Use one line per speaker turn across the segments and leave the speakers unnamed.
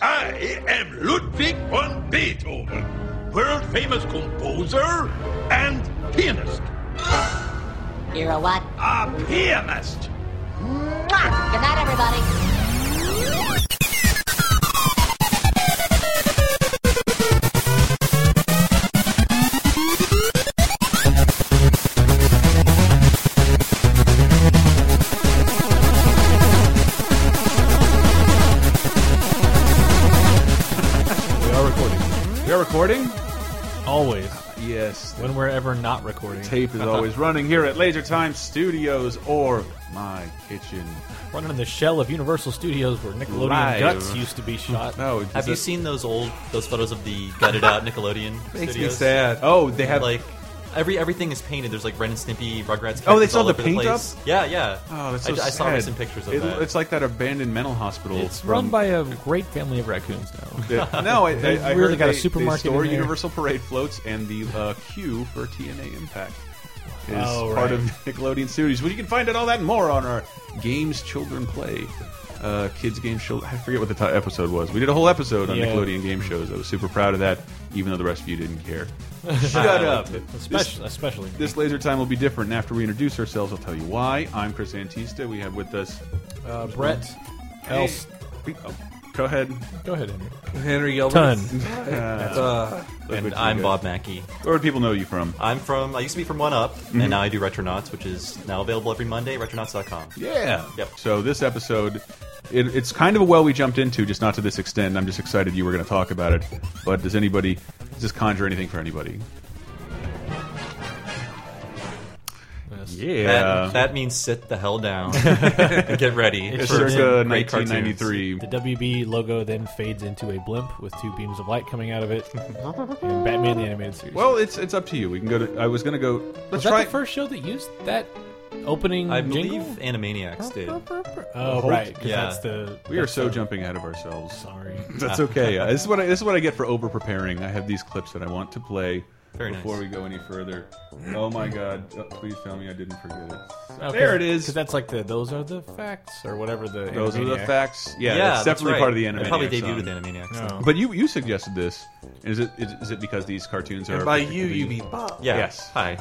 I am Ludwig von Beethoven, world famous composer and pianist.
You're a what?
A pianist!
Mwah! Good night, everybody.
We are recording.
We are recording?
Always.
Yes. The
When we're ever not recording.
tape is always running here at Laser Time Studios or my kitchen.
Running in the shell of Universal Studios where Nickelodeon
Live.
Guts used to be shot.
No, it's
Have you
just-
seen those old those photos of the gutted out Nickelodeon
Makes me
studios?
sad. Oh, they have
Like every everything is painted. There's like Ren and Stimpy, Rugrats.
Oh, they
characters
saw
all
the
over
paint
place.
up?
Yeah, yeah.
Oh, that's so
I, I saw
sad.
recent pictures of
It-
that.
It's like that abandoned mental hospital.
It's
from-
run by a great family of raccoons now.
that- no, I,
They
I, I
really
heard
got a
they,
supermarket
They store
in there.
Universal Parade floats and the uh, queue for TNA Impact is
Oh,
part
right.
of Nickelodeon Studios. Well, you can find out all that and more on our games children play. Uh, kids game show. I forget what the ti- episode was. We did a whole episode on
Yeah.
Nickelodeon game shows. I was super proud of that, even though the rest of you didn't care. Shut up. This-
especially, especially me.
this laser time will be different. And after we introduce ourselves, I'll tell you why. I'm Chris Antista. We have with us.
uh, Brett.
Hey.
Else.
Oh, go ahead.
Go ahead, Henry.
Henry Gilbert.
Ton.
Uh,
Look what
and
you
I'm
did.
Bob Mackey.
Where do people know you from?
I'm from. I used to be from One Up,
Mm-hmm.
and now I do Retronauts, which is now available every Monday. Retronauts.com.
Yeah.
Yep.
So this episode, it, it's kind of a well we jumped into, just not to this extent. I'm just excited you were going to talk about it. But does anybody does this conjure anything for anybody?
Yes.
Yeah.
That, that means sit the hell down and get ready.
It
It's
for
sure
circa
some great cartoons.
1993.
The WB logo then fades into a blimp with two beams of light coming out of it. and Batman the Animated Series.
Well, it's it's up to you. We can go to. I was going to go.
was
Let's
that
try.
the first show that used that opening
I
jingle?
believe Animaniacs did.
Oh, right. 'cause
Yeah.
that's the.
we are
that's
so
the-
jumping ahead of ourselves.
Sorry.
That's okay. Uh, this is what I, this is what I get for over preparing. I have these clips that I want to play
Very nice.
before we go any further. Oh my god! Uh, please tell me I didn't forget it.
Oh, 'cause-
there it is.
'cause that's like the those are the facts or whatever the
Those are the
Animaniacs.
facts. Yeah,
yeah,
that's definitely
right.
part of the um,
It
anime.
probably debuted with Animaniacs.
No.
But you you suggested this. Is it is, is it because these cartoons are
and by you, you mean
particularly-
Bob.
Yeah.
Yes.
Hi.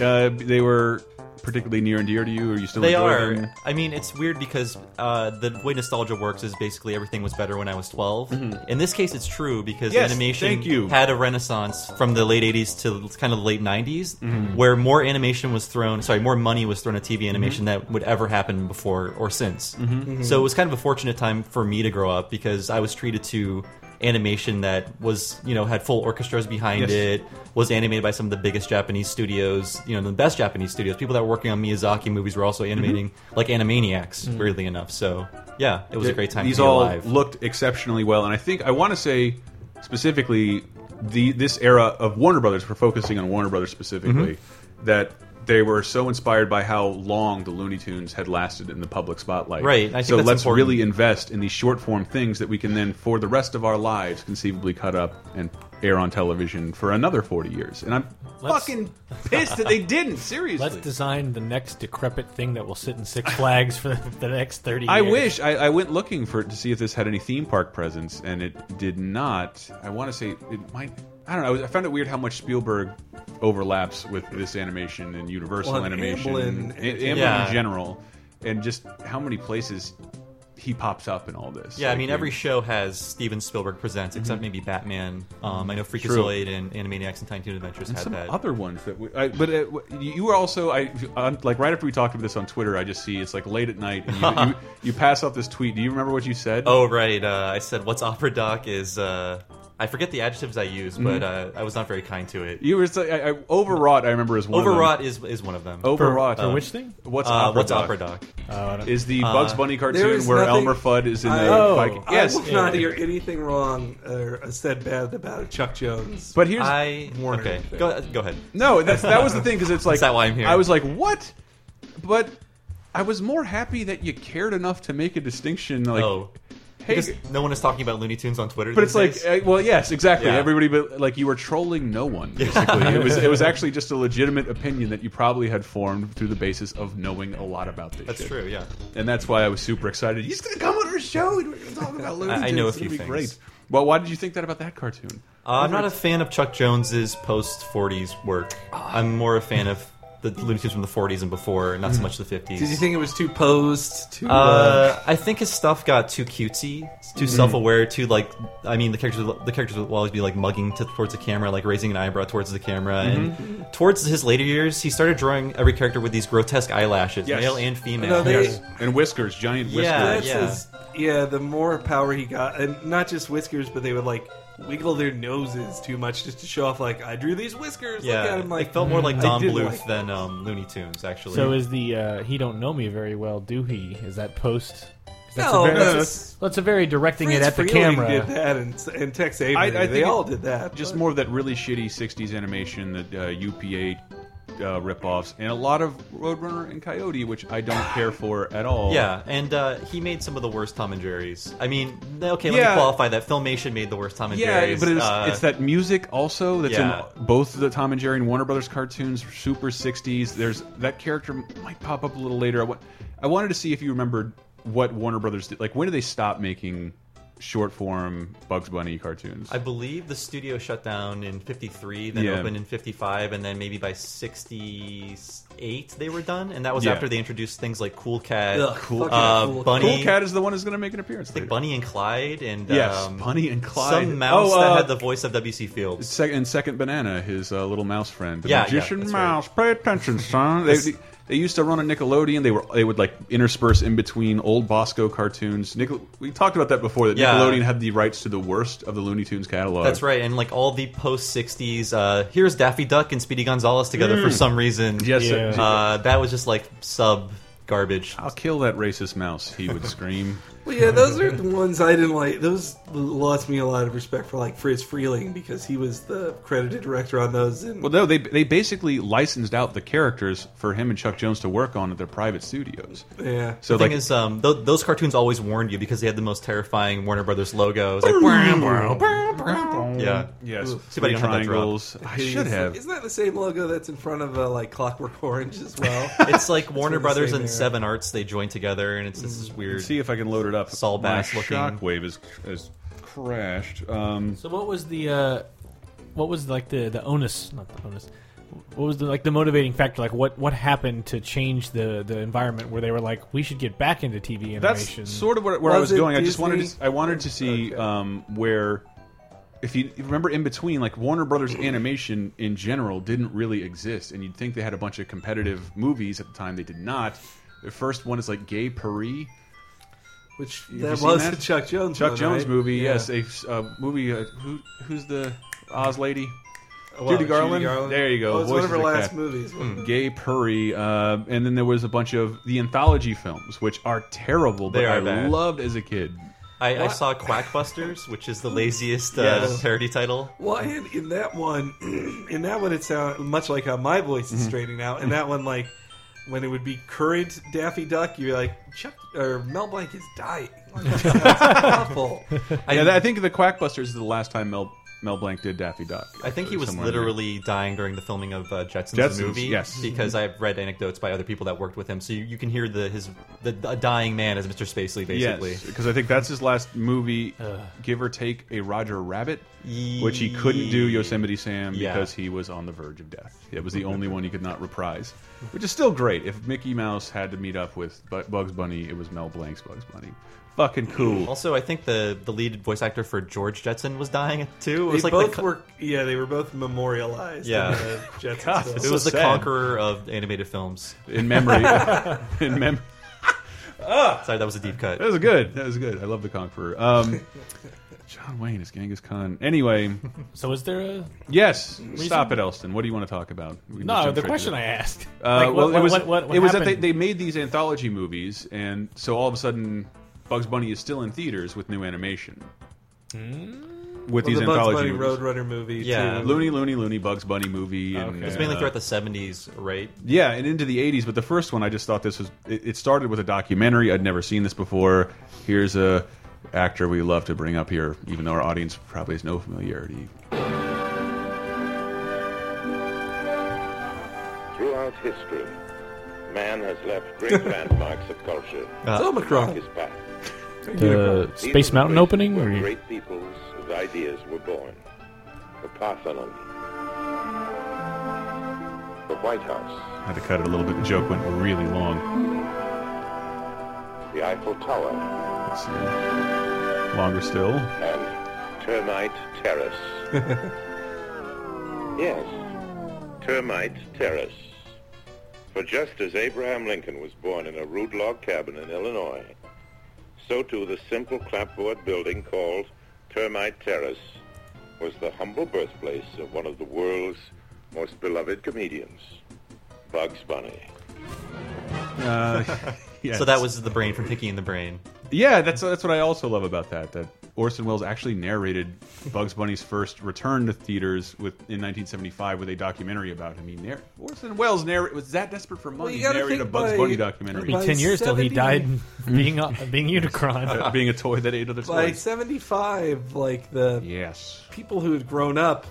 uh, they were particularly near and dear to you, or you still
They
enjoy
are.
them?
I mean, it's weird because uh, the way nostalgia works is basically everything was better when I was 12.
Mm-hmm.
In this case, it's true because
Yes,
animation
thank you.
had a renaissance from the late 80s to kind of the late 90s,
Mm-hmm.
where more animation was thrown, sorry, more money was thrown at TV animation that would ever happen before or since.
Mm-hmm.
So it was kind of a fortunate time for me to grow up because I was treated to animation that was you know had full orchestras behind
Yes.
it was animated by some of the biggest Japanese studios, you know, the best Japanese studios. People that were working on Miyazaki movies were also animating,
Mm-hmm.
like Animaniacs, weirdly enough. So, yeah, it was a great time
These
to be
all
alive.
looked exceptionally well, and I think I want to say specifically the this era of Warner Brothers. We're focusing on Warner Brothers specifically
Mm-hmm.
that. They were so inspired by how long the Looney Tunes had lasted in the public spotlight.
Right, I think
so
that's
let's
important.
really invest in these short form things that we can then, for the rest of our lives, conceivably cut up and air on television for another forty years. And I'm
Let's-
fucking pissed that they didn't. Seriously,
Let's design the next decrepit thing that will sit in Six Flags for the, the next thirty.
I
years.
wish I, I went looking for it to see if this had any theme park presence, and it did not. I want to say it might. I don't know. I was- I found it weird how much Spielberg overlaps with this animation and Universal
Well, and
animation,
Amblin.
A- Amblin
Yeah.
in general, and just how many places he pops up in all this.
yeah, I
Like,
mean,
he-
every show has Steven Spielberg presents,
Mm-hmm.
except maybe Batman. Um, I know Freakazoid and Animaniacs and Tiny Toon Adventures
and
had
some
that.
other ones that. We, I, but uh, w- you were also I on, like right after we talked about this on Twitter. I just see it's like late at night. And you, you, you pass off this tweet. Do you remember what you said?
oh, right. Uh, I said, "What's opera doc?" Is uh, I forget the adjectives I used, but uh, I was not very kind to it.
Mm-hmm. You were so- I, I, overwrought. I remember as one of them.
Overwrought is is one of them.
for,
Overwrought.
for which thing?
What's
uh,
opera
what's
doc?
opera doc? Uh,
Oh, I don't-
Is the Bugs Bunny
There
cartoon
is
where
nothing-
Elmer Fudd is in the
I-
Oh.
podcast?
Yes.
uh, Yes,
I will not hear anything wrong or said bad about Chuck Jones.
but here's
I
Warner
okay.
thing.
Go go ahead.
no. That's that was the thing because it's like
that why I'm here?
I was like what, but I was more happy that you cared enough to make a distinction. Like
oh.
Hey,
Because no one is talking about Looney Tunes on Twitter.
But it's like, uh, well, yes, exactly.
Yeah.
Everybody, but like you were trolling no one. Basically, it was it was actually just a legitimate opinion that you probably had formed through the basis of knowing a lot about this.
that's
shit.
true. Yeah,
and that's why I was super excited. He's gonna come on our show and we're gonna talk about Looney Tunes.
I- I know a
It's
few
gonna be
things.
Great. Well, why did you think that about that cartoon?
uh, I'm not a fan of Chuck Jones's post '40s work.
Ah.
I'm more a fan of the Looney Tunes from the '40s and before, not so much the '50s.
Hmm. Did you think it was too posed? Too.
Uh, I think his stuff got too cutesy,
Hmm.
too self-aware, too like. I mean, the characters the characters would always be like mugging to, towards the camera, like raising an eyebrow towards the camera.
Mm-hmm.
And towards his later years, he started drawing every character with these grotesque eyelashes,
Yes.
male and female.
No, they-
Yes, and whiskers, giant whiskers.
Yeah,
That's
yeah.
his- yeah, the more power he got, and not just whiskers, but they would like wiggle their noses too much just to show off. Like I drew these whiskers.
yeah,
Look at him. Like hmm,
it felt more like
I
Don
did
Bluth
like-
than um, Looney Tunes, actually.
So is the uh, he don't know me very well, do he? Is that post? 'cause That's
No,
a very,
that's-
that's, that's a very directing
Prince
it at the
Freeling
camera.
did that, and, and Tex Avery.
I- I think
they
it-
all did that.
just
but-
more of that really shitty 60s animation that uh, UPA uh, ripoffs and a lot of Roadrunner and Coyote, which I don't care for at all.
Yeah, and uh, he made some of the worst Tom and Jerry's. I mean, okay, let
Yeah.
me qualify that. Filmation made the worst Tom and
Yeah,
Jerry's.
but it's,
uh,
it's that music also that's
Yeah.
in both the Tom and Jerry and Warner Brothers cartoons, super 60s. There's that character might pop up a little later. I, wa- I wanted to see if you remembered what Warner Brothers did. Like, when did they stop making short form Bugs Bunny cartoons?
I believe the studio shut down in 53, then
Yeah.
opened in 55, and then maybe by 68 they were done. And that was
Yeah.
after they introduced things like Cool Cat,
Ugh, fucking
uh,
Cool Cat.
Bunny,
cool Cat is the one who's going to make an appearance.
I think
later.
Bunny and Clyde, and
Yes,
um,
Bunny and Clyde.
some mouse
Oh, uh,
that had the voice of W.C. Fields.
Sec and second banana, his uh, little mouse friend, the
Yeah, yeah,
magician
that's right.
mouse. Pay attention, son. They, they used to run on Nickelodeon. They were they would like intersperse in between old Bosco cartoons. Nickel we talked about that before. That
Yeah.
Nickelodeon had the rights to the worst of the Looney Tunes catalog.
That's right, and like all the post '60s, uh, here's Daffy Duck and Speedy Gonzales together for some reason.
Mm. Yes,
Yeah.
uh,
uh, that was just like sub garbage.
I'll kill that racist mouse. He would scream.
Well, yeah, those are the ones I didn't like. Those lost me a lot of respect for like Fritz Freeling because he was the credited director on those. And
Well, no, they they basically licensed out the characters for him and Chuck Jones to work on at their private studios.
yeah,
So
The
like
thing is, um, th- those cartoons always warned you because they had the most terrifying Warner Brothers logo. It
Mm.
was like, "Wow, wow, wow, wow." yeah,
yes,
Too bad
three
you don't have that drop.
triangles. I should
Is-
have.
Isn't that the same logo that's in front of uh, like Clockwork Orange as well?
it's like Warner
from the
Brothers
same
and
era.
Seven Arts they joined together, and it's this is weird.
Mm. See if I can load it up.
Saul
My
Bass looking.
Shockwave is, is crashed. Um,
So what was the uh, what was like the the onus? Not the onus. What was the like the motivating factor? Like what what happened to change the the environment where they were like we should get back into TV
that's
animation?
sort of where, where I was
Was it
going. I just
Disney?
wanted to, I wanted to see
Okay.
um, where. If you you remember in between, like Warner Brothers animation in general didn't really exist, and you'd think they had a bunch of competitive movies at the time. They did not. The first one is like Gay Paris,
Which
Have you
that
seen
was
that?
the Chuck Jones.
Chuck
one,
Jones
right?
movie.
Yeah. Oh,
Yes, a uh, movie. Uh, who who's the Oz lady?
Well,
Judy Garland? There you go.
Oh, it's one
Voices
of her
of
last
Cat.
movies.
Gay Puri, uh, and then there was a bunch of the anthology films, which are terrible, but
They are
I
bad.
loved as a kid.
I, I saw Quackbusters, which is the laziest uh,
Yes.
parody title.
Well, and in that one, in that one, it sounds much like how my voice
Mm-hmm.
is straining out. In that one, like when it would be current Daffy Duck, you're like Chuck or Mel Blanc is dying. Like, that sounds awful.
I, yeah, I think the Quackbusters is the last time Mel Mel Blanc did Daffy Duck.
I think he
Or
was
somewhere in there.
literally dying during the filming of uh, Jetsons,
Jetsons,
the movie.
yes.
because I've read anecdotes by other people that worked with him, so you, you can hear the his the, the dying man as Mr. Spacely, basically.
Yes, because I think that's his last movie, give or take a Roger Rabbit, which he couldn't do Yosemite Sam
Yeah. Mm-hmm.
because he was on the verge of death. It was the only one he could not reprise, which is still great. If Mickey Mouse had to meet up with Bu- Bugs Bunny, it was Mel Blanc's Bugs Bunny. Fucking cool.
Also, I think the the lead voice actor for George Jetson was dying too. It
They
was like the
both
co-
were. Yeah, they were both memorialized.
Yeah.
in the Jetsons
God,
film.
it's
It was
so
the
sad.
conqueror of animated films.
in memory. in mem
Sorry, that was a deep cut.
That was good. That was good. I love the Conqueror. Um, John Wayne is Genghis Khan. Anyway,
so is there a
yes. Stop it, Elston. What do you want to talk about? We can just
no?
jump
The
straight
question
to
I
that.
asked.
Uh, well,
Like, what-
it was.
what- what- what
it was that they,
happened?
they made these anthology movies, and so all of a sudden, Bugs Bunny is still in theaters with new animation.
Hmm.
With
Well,
these
the Bugs
anthology
Bunny
movies.
Roadrunner movie.
Yeah.
too.
Looney, Looney, Looney, Bugs Bunny movie. And,
Okay. It's
It's mainly
uh,
throughout the '70s, right?
Yeah, and into the 80s, but the first one, I just thought this was. It, it started with a documentary. I'd never seen this before. Here's a actor we love to bring up here, even though our audience probably has no familiarity.
Throughout history, man has left great landmarks of culture.
It's Omicron.
His path.
The Uh, Space
These are
Mountain
places
opening?
Where
Or
great peoples of ideas were born. The Parthenon. The White House.
I had to cut it a little bit. The joke went really long.
The Eiffel Tower.
Let's see. Longer still.
And Termite Terrace. yes. Termite Terrace. For just as Abraham Lincoln was born in a rude log cabin in Illinois, so too the simple clapboard building called Termite Terrace was the humble birthplace of one of the world's most beloved comedians, Bugs Bunny.
Uh, Yes.
So that was the brain from Pinky and the Brain.
Yeah, that's that's what I also love about that. That Orson Welles actually narrated Bugs Bunny's first return to theaters with in 1975 with a documentary about him. He narr Orson Welles narr was that desperate for money.
you
he
gotta
narrated a
think
Bugs
by-
Bunny documentary
be
by
ten years till he
70
died being uh, being Unicron.
Uh, being a toy that ate other
By
toys.
75, like the
yes.
people who had grown up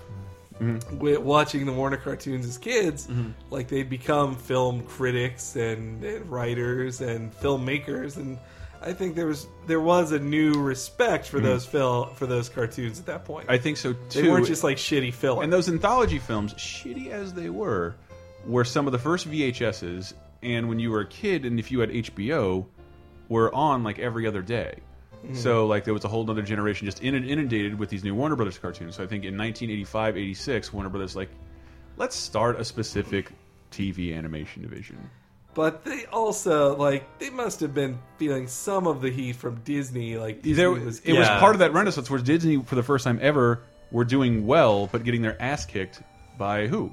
with watching the Warner cartoons as kids,
Mm-hmm.
like they'd become film critics and, and writers and filmmakers, and I think there was there was a new respect for those film for those cartoons at that point.
Mm-hmm. I think so too.
they weren't just like shitty filler.
And those anthology films, shitty as they were, were some of the first VHSs. And when you were a kid, and if you had HBO, were on like every other day.
Mm-hmm.
So like there was a whole other generation just in- inundated with these new Warner Brothers cartoons. So I think in 1985, 86, Warner Brothers like, let's start a specific TV animation division.
but they also like they must have been feeling some of the heat from Disney. Like Disney
There,
was,
it was
Yeah.
part of that renaissance where Disney, for the first time ever, were doing well but getting their ass kicked by who?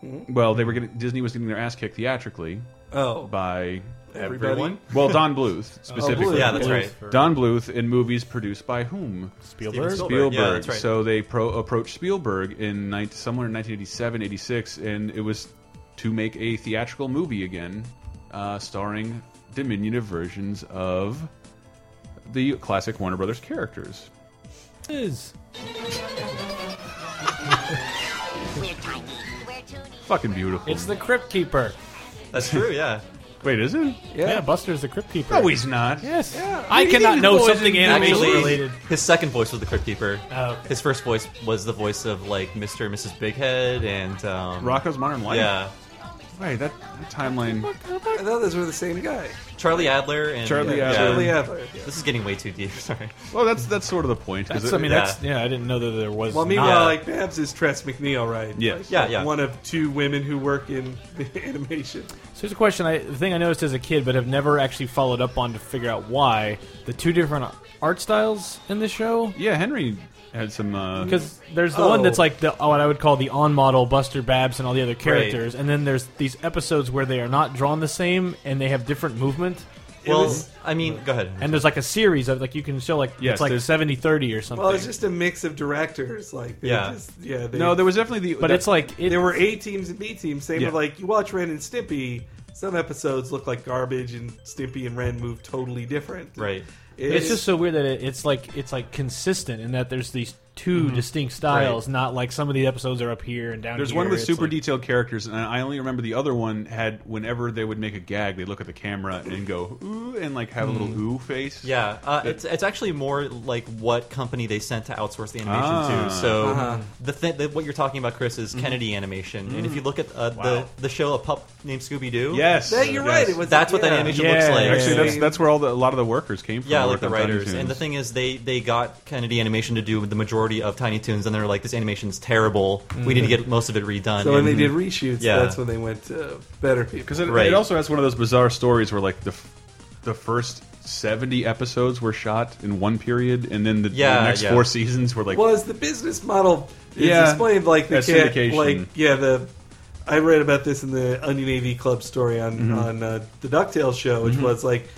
Hmm?
Well, they were getting Disney was getting their ass kicked theatrically
oh
by
Everybody? Oh,
everyone. Well, Don Bluth specifically.
Bluth,
Yeah, that's
Bluth.
right.
Don Bluth in movies produced by whom?
Spielberg.
Spielberg.
Yeah, that's right.
So they pro approached Spielberg in nine somewhere in 1987, 86, and it was to make a theatrical movie again, uh, starring diminutive versions of the classic Warner Brothers characters.
Is.
Fucking beautiful.
It's the Crypt Keeper.
That's true. Yeah.
Wait, is it?
Yeah. Buster's the Crypt Keeper.
No, he's not.
Yes. I cannot
He's
know
always
something
in-
animation
Actually,
related.
his second voice was the Crypt Keeper.
Oh, okay.
His first voice was the voice of like Mr. and Mrs. Bighead and um,
Rocco's Modern Life.
Yeah,
Right. That, that timeline.
I thought those were the same guy,
Charlie Adler and
Charlie
yeah.
Adler.
Charlie Adler.
This is getting way too deep. Sorry.
Well, that's that's sort of the point. 'cause
That's,
it-
I mean,
yeah.
that's yeah. I didn't know that there was.
Well, uh,
not.
meanwhile, like Babs is Tress McNeil, right?
Yes.
Like,
Yeah, yeah.
One of two women who work in animation.
So here's a question. I, the thing I noticed as a kid, but have never actually followed up on to figure out why the two different art styles in the show.
Yeah, Henry had some. Uh,
Because there's the one
Oh.
that's like the uh, what I would call the on model Buster Babs and all the other characters, and then there's these episodes where they are not drawn the same and they have different movement.
Well, I mean, go ahead.
And there's like a series of like you can show like
Yes,
it's like
there's-
70 30 or something.
Well, it's just a mix of directors. Like, they
Yeah.
just, yeah. They,
no, there was definitely the.
but
that-
it's like it,
there were A teams and B teams. Same
Yeah.
with like you watch Ren and Stimpy. Some episodes look like garbage, and Stimpy and Ren move totally different.
Right.
it's, just so weird that it, it's like it's like consistent in that there's these 2 distinct styles, not like some of the episodes are up here and down.
Mm-hmm. There's
here.
one with
It's
super
like-
detailed characters, and I only remember the other one had whenever they would make a gag, they would look at the camera and go ooh, and like have a little ooh face.
Hmm. Yeah, uh, it's it's actually more like what company they sent to outsource the animation
Ah. Mm-hmm.
to. So the, th- the what you're talking about, Chris, is Kennedy Animation, and if you look at uh,
Wow.
the the show A Pup Named Scooby Doo,
Mm. Yes,
That, you're
Yes.
right. It was
that's what that
yeah.
animation
Yeah,
looks like.
Actually,
Yeah.
that's that's where all the, a lot of the workers came from.
Yeah, like
who worked
the
on Tiny
writers. And the
Toons.
thing is, they they got Kennedy Animation to do the majority of Tiny Toons, and they're like, this animation's terrible. We
Mm-hmm.
need to get most of it redone.
So
And-
when they did reshoots,
Yeah.
that's when they went to better people.
because it,
Right.
it also has one of those bizarre stories where like the f- the first 70 episodes were shot in one period, and then the, the
Yeah,
next
yeah.
four seasons were like
was the business model is
Yeah.
explained like they
That's
can't
syndication.
like yeah the I read about this in the Onion AV Club story on
Mm-hmm.
on uh, the Ducktales show, which was like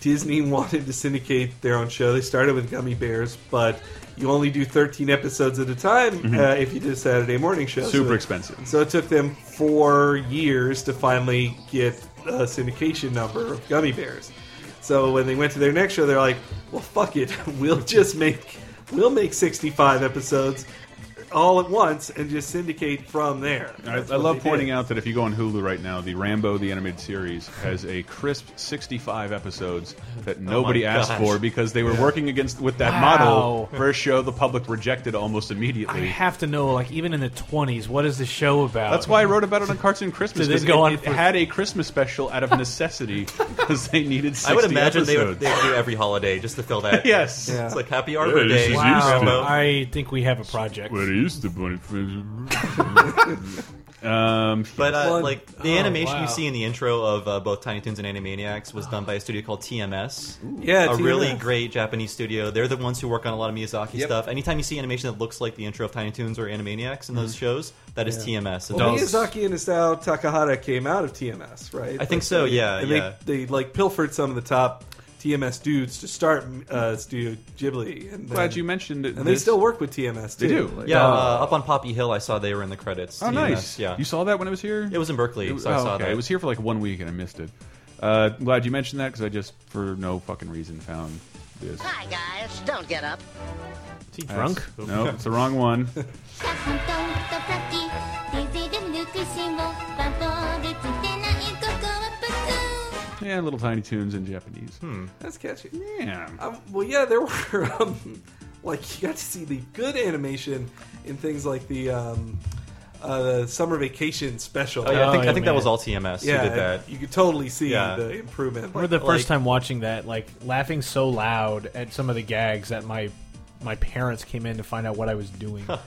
Disney wanted to syndicate their own show. They started with Gummy Bears, but you only do 13 episodes at a time uh, if you do a Saturday morning show.
Mm-hmm. Super expensive.
So it took them four years to finally get a syndication number of Gummy Bears. So when they went to their next show, they're like, well, fuck it. We'll just make we'll make sixty five episodes all at once and just syndicate from there.
I, I love pointing out that if you go on Hulu right now, the Rambo the animated series has a crisp 65 episodes that nobody asked
gosh.
for because they were working against with that model
Wow.
for a show the public rejected almost
I
immediately.
have to know, like, even in the 20s, what is the show about?
That's why I wrote about it on Cartoon Christmas.
Did it
'cause
go on
it,
for-
had a Christmas special out of necessity because they needed 60
I would imagine they would,
episodes.
they would do every holiday just to fill that.
Yes. Yeah.
It's like Happy Arbor
this
Day.
is
Wow.
used to.
I think we have a project.
used to um,
But uh,
Well,
like the
oh,
animation you
wow.
see in the intro of uh, both Tiny Toons and Animaniacs was done by a studio called TMS.
Yeah,
a
TMS.
really great Japanese studio. They're the ones who work on a lot of Miyazaki
Yep.
stuff. Anytime you see animation that looks like the intro of Tiny Toons or Animaniacs in those shows, that is TMS. And
Mm-hmm. Well,
those-
Miyazaki and Isao Takahata came out of TMS, right?
I think so,
they-
yeah,
and
yeah.
They, they like pilfered some of the top TMS dudes to start uh, Studio Ghibli. And then,
glad you mentioned it.
And they
This-
still work with TMS too.
They do.
Like,
yeah, uh, up on Poppy Hill, I saw they were in the credits.
Oh,
TMS,
nice.
Yeah,
You saw that when it was here?
it was in Berkeley,
It was-
so I
oh,
saw
okay.
that.
It was here for like one week and I missed it. Uh, I'm glad you mentioned that because I just, for no fucking reason, found this.
Hi, guys. Don't get up.
Is he drunk?
That's- No, it's the wrong one.
カントンとプラッキーデゼルルクシンをバトルつけないここはプク
Yeah, little tiny tunes in Japanese.
that's catchy.
Yeah.
Um, well, yeah, there were um, like you got to see the good animation in things like the um, uh, summer vacation special.
Oh, yeah, I think,
Oh,
I think
yeah,
that was
man.
all TMS
Yeah,
who did that.
you could totally see
Yeah.
the improvement.
I remember the
Like-
first time watching that, like laughing so loud at some of the gags that my my parents came in to find out what I was doing.
Oh,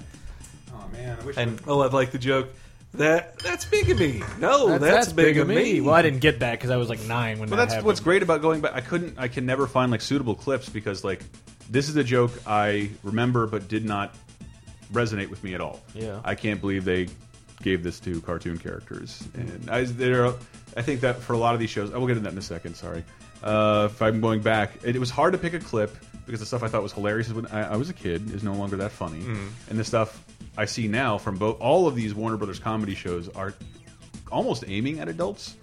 man. I wish
And
oh, I like the joke that that's big of me. No, that's, big, of me.
Well, I didn't get that because I was like nine when
But
that
that's
happened.
what's great about going back. I couldn't. I can never find like suitable clips because like this is a joke I remember but did not resonate with me at all.
Yeah.
I can't believe they gave this to cartoon characters, and I there. are- I think that for a lot of these shows, I will get into that in a second. Sorry. Uh, if I'm going back, it, it was hard to pick a clip because the stuff I thought was hilarious when I, I was a kid is no longer that funny,
Mm-hmm.
and the stuff I see now from both all of these Warner Brothers comedy shows are almost aiming at adults.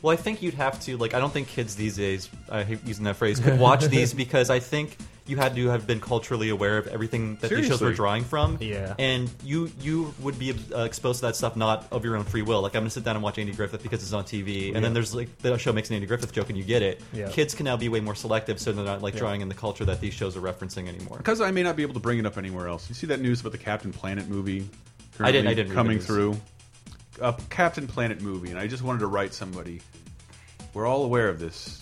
Well, I think you'd have to like. I don't think kids these days, I hate using that phrase, could watch these because I think you had to have been culturally aware of everything that these shows
Seriously.
were drawing from.
Yeah.
and you you would be uh, exposed to that stuff not of your own free will. Like I'm gonna sit down and watch Andy Griffith because it's on TV, and then there's like the show makes an Andy Griffith joke and you get it.
Yeah.
Kids can now be way more selective, so they're not like drawing in the culture that these shows are referencing anymore.
because I may not be able to bring it up anywhere else. You see that news about the Captain Planet movie?
I didn't- I
currently
didn't read the
coming
news.
through a Captain Planet movie, and I just wanted to write somebody. We're all aware of this,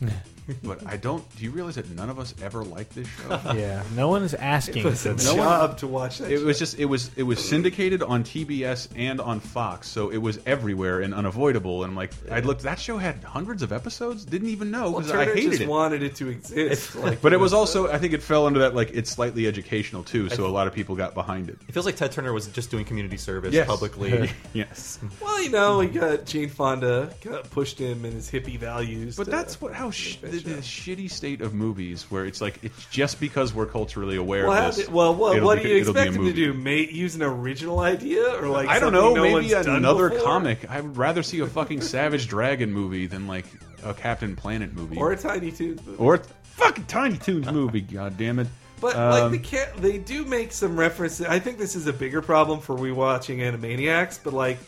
but I don't. Do you realize that none of us ever liked this show?
Yeah, no one is asking.
It's a
for this.
no one-
job to watch that.
It was
show.
just it was it was syndicated on TBS and on Fox, so it was everywhere and unavoidable. And I'm like, I looked that show had hundreds of episodes, didn't even know
well,
because
Turner
I hated
just
it.
wanted it to exist. like,
But it was also I think it fell under that like it's slightly educational too, so a lot of people got behind it.
It feels like Ted Turner was just doing community service
Yes.
publicly.
Yes.
well, you know, he got Gene Fonda kind of pushed him in his hippie values.
But
to-
that's what how sh
that
the,
show.
the shitty state of movies where it's like it's just because we're culturally aware
Well, how
of this.
did- well, what,
it'll
what
be-
do you
it'll be a
expect him to
movie.
do? Mate, use an original idea or like
I don't know.
something no
maybe
one's done
another
before?
comic. I would rather see a fucking Savage Dragon movie than like a Captain Planet movie
or a Tiny Toons movie.
or a fucking Tiny Toons movie. God damn it!
But
Um,
like the cat, they do make some references. I think this is a bigger problem for rewatching Animaniacs. But like,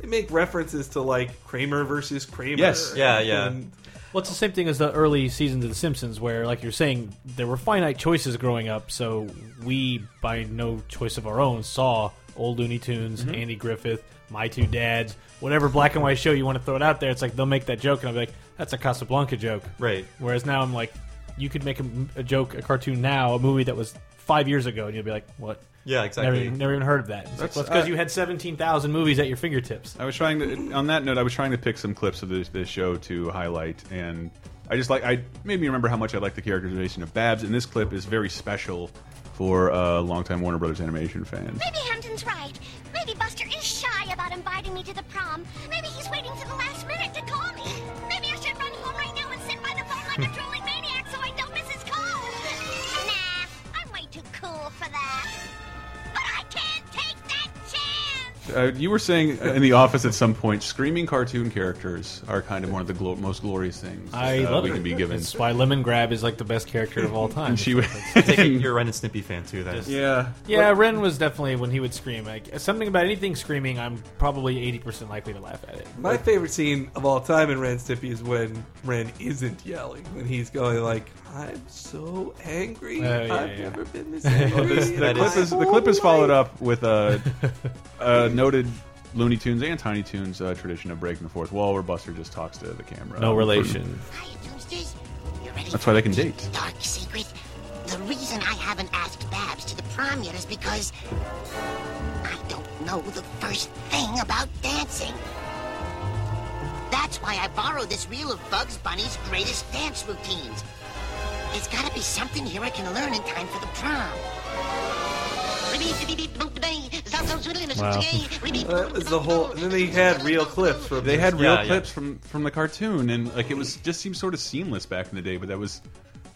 they make references to like Kramer versus Kramer.
Yes.
Yeah, yeah.
And-
Well, it's the same thing as the early seasons of The Simpsons, where, like you're saying, there were finite choices growing up, so we, by no choice of our own, saw old Looney Tunes,
Mm-hmm.
Andy Griffith, My Two Dads, whatever black and white show you want to throw it out there. It's like they'll make that joke, and I'll be like, that's a Casablanca joke.
Right.
Whereas now I'm like, you could make a, a joke, a cartoon now, a movie that was five years ago, and you'll be like, what?
Yeah, exactly.
Never, never even heard of that. It's like,
That's-
well, because
I-
you had 17,000 movies at your fingertips.
I was trying to. On that note, I was trying to pick some clips of this, this show to highlight, and I just like I made me remember how much I like the characterization of Babs, and this clip is very special for uh, longtime Warner Brothers animation fans.
Maybe Hampton's right. Maybe Buster is shy about inviting me to the prom. Maybe he's waiting to the last minute to call me. Maybe I should run home right now and sit by the phone like a drooling maniac so I don't miss his call. Nah, I'm way too cool for that. But I can't take that chance.
Uh, you were saying in the office at some point, screaming cartoon characters are kind of one of the glo most glorious things
I
uh,
love
we
it.
can be given.
That's why Lemon Grab is like the best character of all time.
And she would.
Take it you're a Ren and Snippy fan too. Then
yeah.
yeah, Ren was definitely when he would scream. Like something about anything screaming, I'm probably eighty percent likely to laugh at it.
My favorite scene of all time in Ren Stippy is when Ren isn't yelling, when he's going like, "I'm so angry.
Oh, yeah,
I've
yeah.
never been this angry."
Oh, The
That
clip
is-
is the clip is followed up with a, a noted Looney Tunes and Tiny Tunes uh, tradition of breaking the fourth wall, where Buster just talks to the camera.
No relation.
Hi, Toasters. You ready
That's
for
why they
a
can
deep,
date.
Dark secret. The reason I haven't asked Babs to the prom yet is because I don't know the first thing about dancing. That's why I borrowed this reel of Bugs Bunny's greatest dance routines. There's gotta be something here I can learn in time for the prom.
Well, that was the whole. And then they had real clips from.
They had real
Yeah, yeah.
clips from from the cartoon, and like it was just seemed sort of seamless back in the day, but that was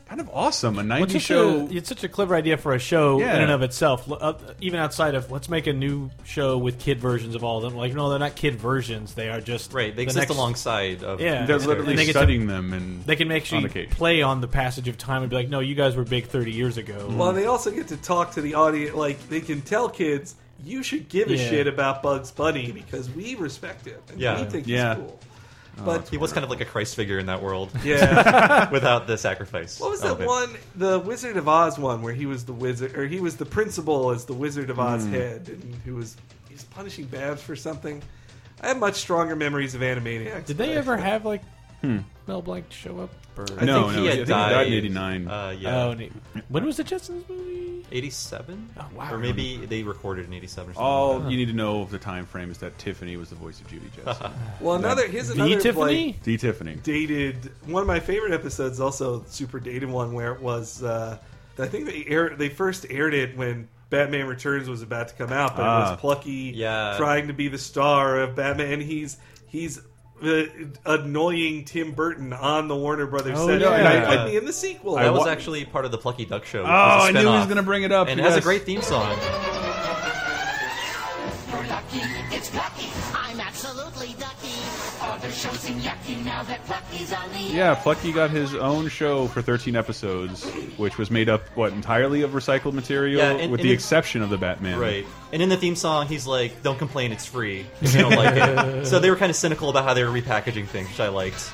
kind of awesome. A
Well,
'90s
it's such
uh,
show.
a, it's such a clever idea for a show
Yeah.
in and of itself. L- uh, even outside of let's make a new show with kid versions of all of them. Like no, they're not kid versions. They are just
right. They
the
exist
next-
alongside of
Yeah.
They're
And
literally
they get to-
studying them, and
They can make
on
sure you
occasion.
play on the passage of time and be like, no, you guys were big thirty years ago.
Mm. Well, they also get to talk to the audience. Like they can tell kids, "You should give a
Yeah.
shit about Bugs Bunny because we respect him and
Yeah.
we think
Yeah.
he's cool." But
He was kind of like a Christ figure in that world
yeah,
without the sacrifice.
what was that
element.
one? The Wizard of Oz one where he was the wizard, or he was the principal as the Wizard of Oz head, and who was he's punishing Babs for something. I have much stronger memories of Animaniacs.
Did they
but-
ever have like Mel Blanc show up? Or,
I
No,
think he had
no, I think he
died,
died in 89.
Uh, yeah,
Oh, and it- when was the Jetsons movie?
87.
Oh, wow.
Or maybe they recorded in 87 or something. like
all you need to know of the time frame is that Tiffany was the voice of Judy Jetson.
Well, another here's
The
another
Tiffany.
like,
D. Tiffany.
dated one of my favorite episodes also super dated one where it was uh, i think they aired, they first aired it when batman returns was about to come out but it
Ah.
was plucky
Yeah.
trying to be the star of batman and he's he's the annoying tim burton on the warner brothers
Oh,
set
yeah.
and
Yeah.
i might be in the sequel
that. That was
wa-
actually part of the Plucky Duck show.
Oh, I knew he was going
to
to bring it up.
And it
yes.
has a great theme song.
You're lucky, it's Lucky.
I'm absolutely ducky.
Other shows seem yucky now that Lucky's on the
Yeah, Plucky got his own show for 13 episodes, which was made up what entirely of recycled material,
Yeah, and-
with
and
the
it-
exception of the Batman.
Right. And in the theme song, he's like, don't complain, it's free. If you don't like it. So they were kind of cynical about how they were repackaging things, which I liked.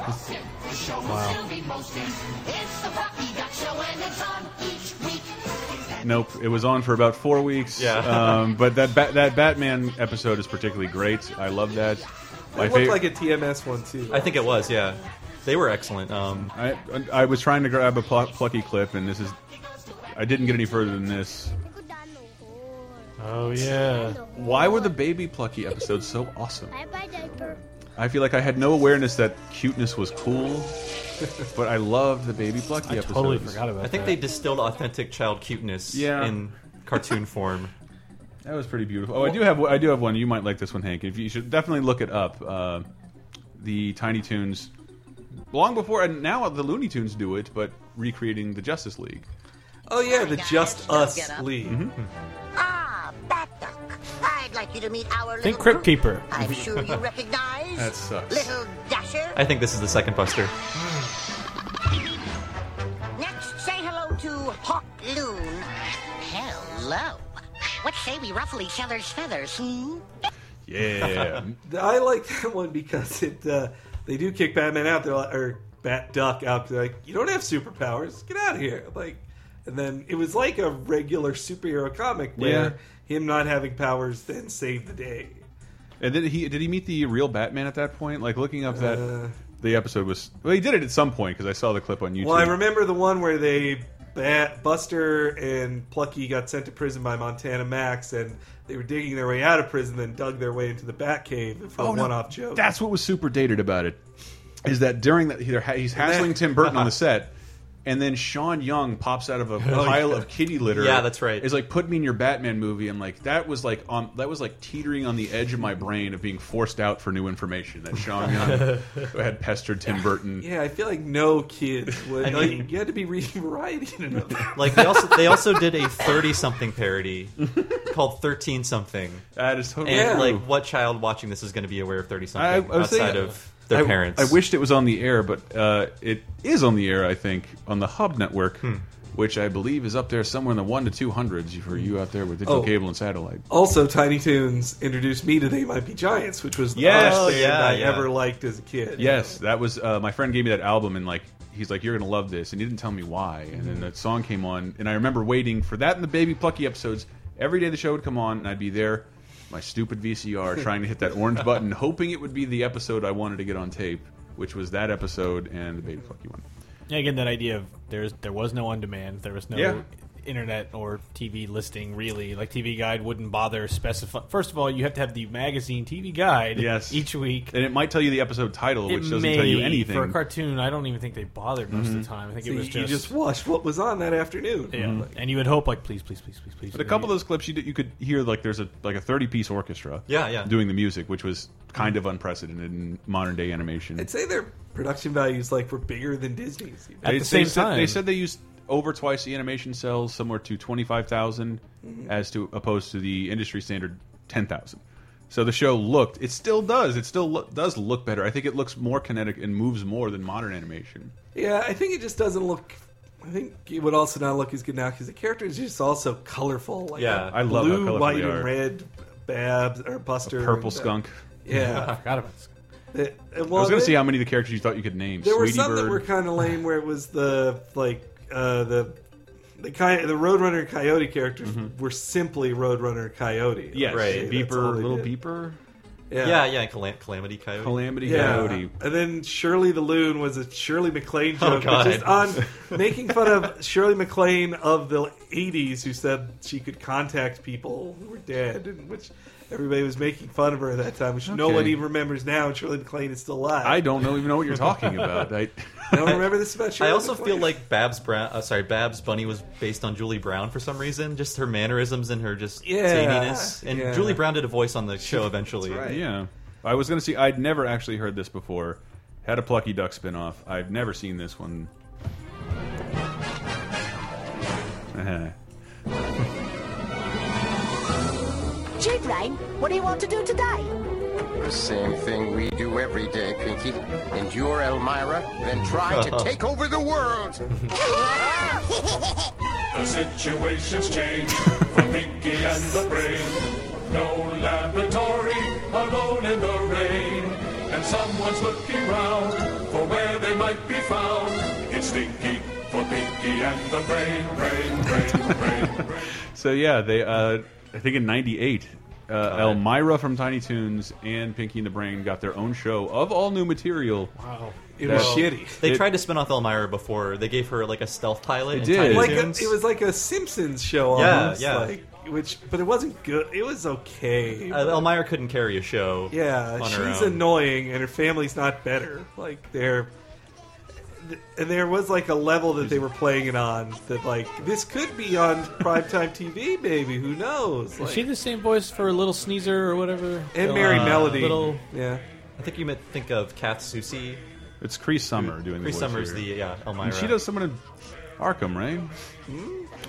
Austin. The show will still be mostly. It's the Lucky Duck Show and it's on each week.
Nope. It was on for about four weeks.
Yeah.
Um, but that ba that Batman episode is particularly great. I love that. My
it
fav-
looked like a tms one too
I think it was, yeah. They were excellent. Um,
I, I was trying to grab a pl Plucky clip, and this is. I didn't get any further than this.
Oh yeah.
Uh, Why were the baby Plucky episodes so awesome?
Bye bye, diaper.
I feel like I had no awareness that cuteness was cool, but I loved the baby Plucky episodes.
Totally forgot about.
I think they
that.
distilled authentic child cuteness
Yeah.
in cartoon form.
That was pretty beautiful. Oh, I do have I do have one. You might like this one, Hank. If you should definitely look it up. Uh, the Tiny Toons, long before and now the Looney Tunes do it, but recreating the Justice League.
oh yeah the just us
Get up.
league
Mm-hmm.
Ah, Bat Duck. I'd like you to meet our
Think
little
Crypt
group.
Keeper.
I'm sure you recognize.
That sucks.
Little Dasher.
I think this is the second Buster.
Next, say hello to Hawk Loon. Hello. What say we ruffle each other's feathers, hmm?
Yeah,
I like that one because it uh, they do kick Batman out there or Bat Duck out. They're like, "You don't have superpowers. Get out of here!" Like, and then it was like a regular superhero comic where him not having powers then saved the day.
and did he did he meet the real Batman at that point? Like looking up that
Uh,
the episode was. Well, he did it at some point because I saw the clip on YouTube.
Well, I remember the one where they Bat Buster and Plucky got sent to prison by Montana Max, and they were digging their way out of prison, then dug their way into the Bat Cave for
Oh,
a
no.
one-off joke.
Uh-huh.
That's what was super dated about it, is that during that he- they're ha- he's hassling Tim Burton on the set, and then Sean Young pops out of a pile of kitty litter.
Oh, Yeah, that's right.
Is like put me in your Batman movie. I'm like that was like on that was like teetering on the edge of my brain of being forced out for new information that Sean Young had pestered Tim Burton.
Yeah, I feel like no kid would.
I mean-
like, you had to be reading Variety to know that.
Like they also they also did a thirty something parody called thirteen something,
That is totally
and
Yeah.
true.
like what child watching this is going to be aware of thirty
I, I
something
was
outside
thinking-
of their
I-
parents?
I wished it was on the air, but uh, it is on the air, I think, on the Hub Network,
Hmm.
which I believe is up there somewhere in the one to two hundreds for you out there with digital
Oh.
cable and satellite.
Also, Tiny Toons introduced me to They Might Be Giants, which was the
Yes.
first
Oh,
band
yeah,
I
yeah.
ever liked as a kid.
Yes, that was uh, my friend gave me that album, and like he's like, "You're gonna love this," and he didn't tell me why. And
Hmm.
then that song came on, and I remember waiting for that in the Baby Plucky episodes. Every day the show would come on, and I'd be there, my stupid VCR, trying to hit that orange button, hoping it would be the episode I wanted to get on tape, which was that episode and the Baby Plucky one.
Yeah, again, that idea of there's there was no on demand, there was no
Yeah.
internet or TV listing really. Like TV Guide wouldn't bother specify. First of all, you have to have the magazine TV Guide.
Yes.
each week.
And it might tell you the episode title, which
It
doesn't
may-
tell you anything. Mm-hmm.
for a cartoon. I don't even think they bothered most of the time. I think
So
it
you,
was
you just, watched what was on that afternoon.
yeah. And you would hope like please, please, please, please, please.
Mm-hmm. But a couple of those clips, you, did, you could hear like there's a like a 30 piece orchestra.
Yeah, yeah.
Doing the music, which was kind of unprecedented in modern day animation.
I'd say their production values like were bigger than Disney's. even.
At
they,
the
they
same
said,
time.
they said they used over twice the animation cells, somewhere to 25,000,
Mm-hmm.
as to opposed to the industry standard 10,000. So the show looked, it still does, it still lo does look better. I think it looks more kinetic and moves more than modern animation.
Yeah, I think it just doesn't look. I think it would also not look as good now because the characters are just also colorful. Like
Yeah.
a
I love how
blue,
colorful
white,
they are.
and red. Babs or Buster,
Purple
and, uh,
skunk.
I
Yeah,
forgot about. this.
It- it-
I
well,
was going
they-
to see how many of the characters you thought you could name.
There were
Sweetie
some
Bird.
that were kind of lame, where it was the like uh, the the coy- the Roadrunner and Coyote characters were simply Roadrunner and Coyote.
Yes,
Right.
That's all
Beeper,
they
little
did.
Beeper,
yeah, yeah, Calam- Calamity Coyote.
Calamity
Yeah.
Coyote.
And then Shirley the Loon was a Shirley MacLaine
Oh,
joke, but just
God.
on making fun of Shirley MacLaine of the 80s who said she could contact people who were dead, and which everybody was making fun of her at that time, which no
Okay.
one even remembers now, and Shirley MacLaine is still alive.
I don't know even know what you're talking about. I,
I don't remember this about Shirley
I also feel
MacLaine.
like Babs Brown. Uh, sorry, Babs Bunny was based on Julie Brown for some reason. Just her mannerisms and her just
Yeah,
zaniness. And
yeah.
Julie Brown did a voice on the show eventually.
right.
yeah, I was gonna see. I'd never actually heard this before. Had a Plucky Duck spinoff. I've never seen this one. Uh-huh.
Gee, Brian, what do you want to do today?
The same thing we do every day, Pinky. Endure Elmira, then try to take over the world.
The situation's changed for Pinky and the Brain. No laboratory, alone in the rain. And someone's looking round for where they might be found. It's Stinky for Pinky and the Brain, Brain, Brain, Brain, Brain.
So yeah, they. Uh, I think in '98. Uh, Elmira from Tiny Toons and Pinky and the Brain got their own show of all new material.
Wow.
it was
Well,
shitty.
They
It-
tried to spin off Elmira before. They gave her like a stealth pilot. and
did.
Tiny
like a,
Toons.
it was like a Simpsons show.
Yeah,
almost,
yeah.
Like, which, but it wasn't good. It was okay.
Uh, Elmira couldn't carry a show.
yeah,
on her
she's
own.
annoying, and her family's not better. Like they're, and there was like a level that they were playing it on that like this could be on primetime TV, maybe who knows? Like,
Is she the same voice for Little Sneezer or whatever?
and Mary
Uh,
Melody,
Little
yeah.
I think you meant think of Kath Soucie.
It's Cree Summer doing
Chris
the voice
Summers,
here.
the yeah Elmira.
And she does someone in Arkham, right?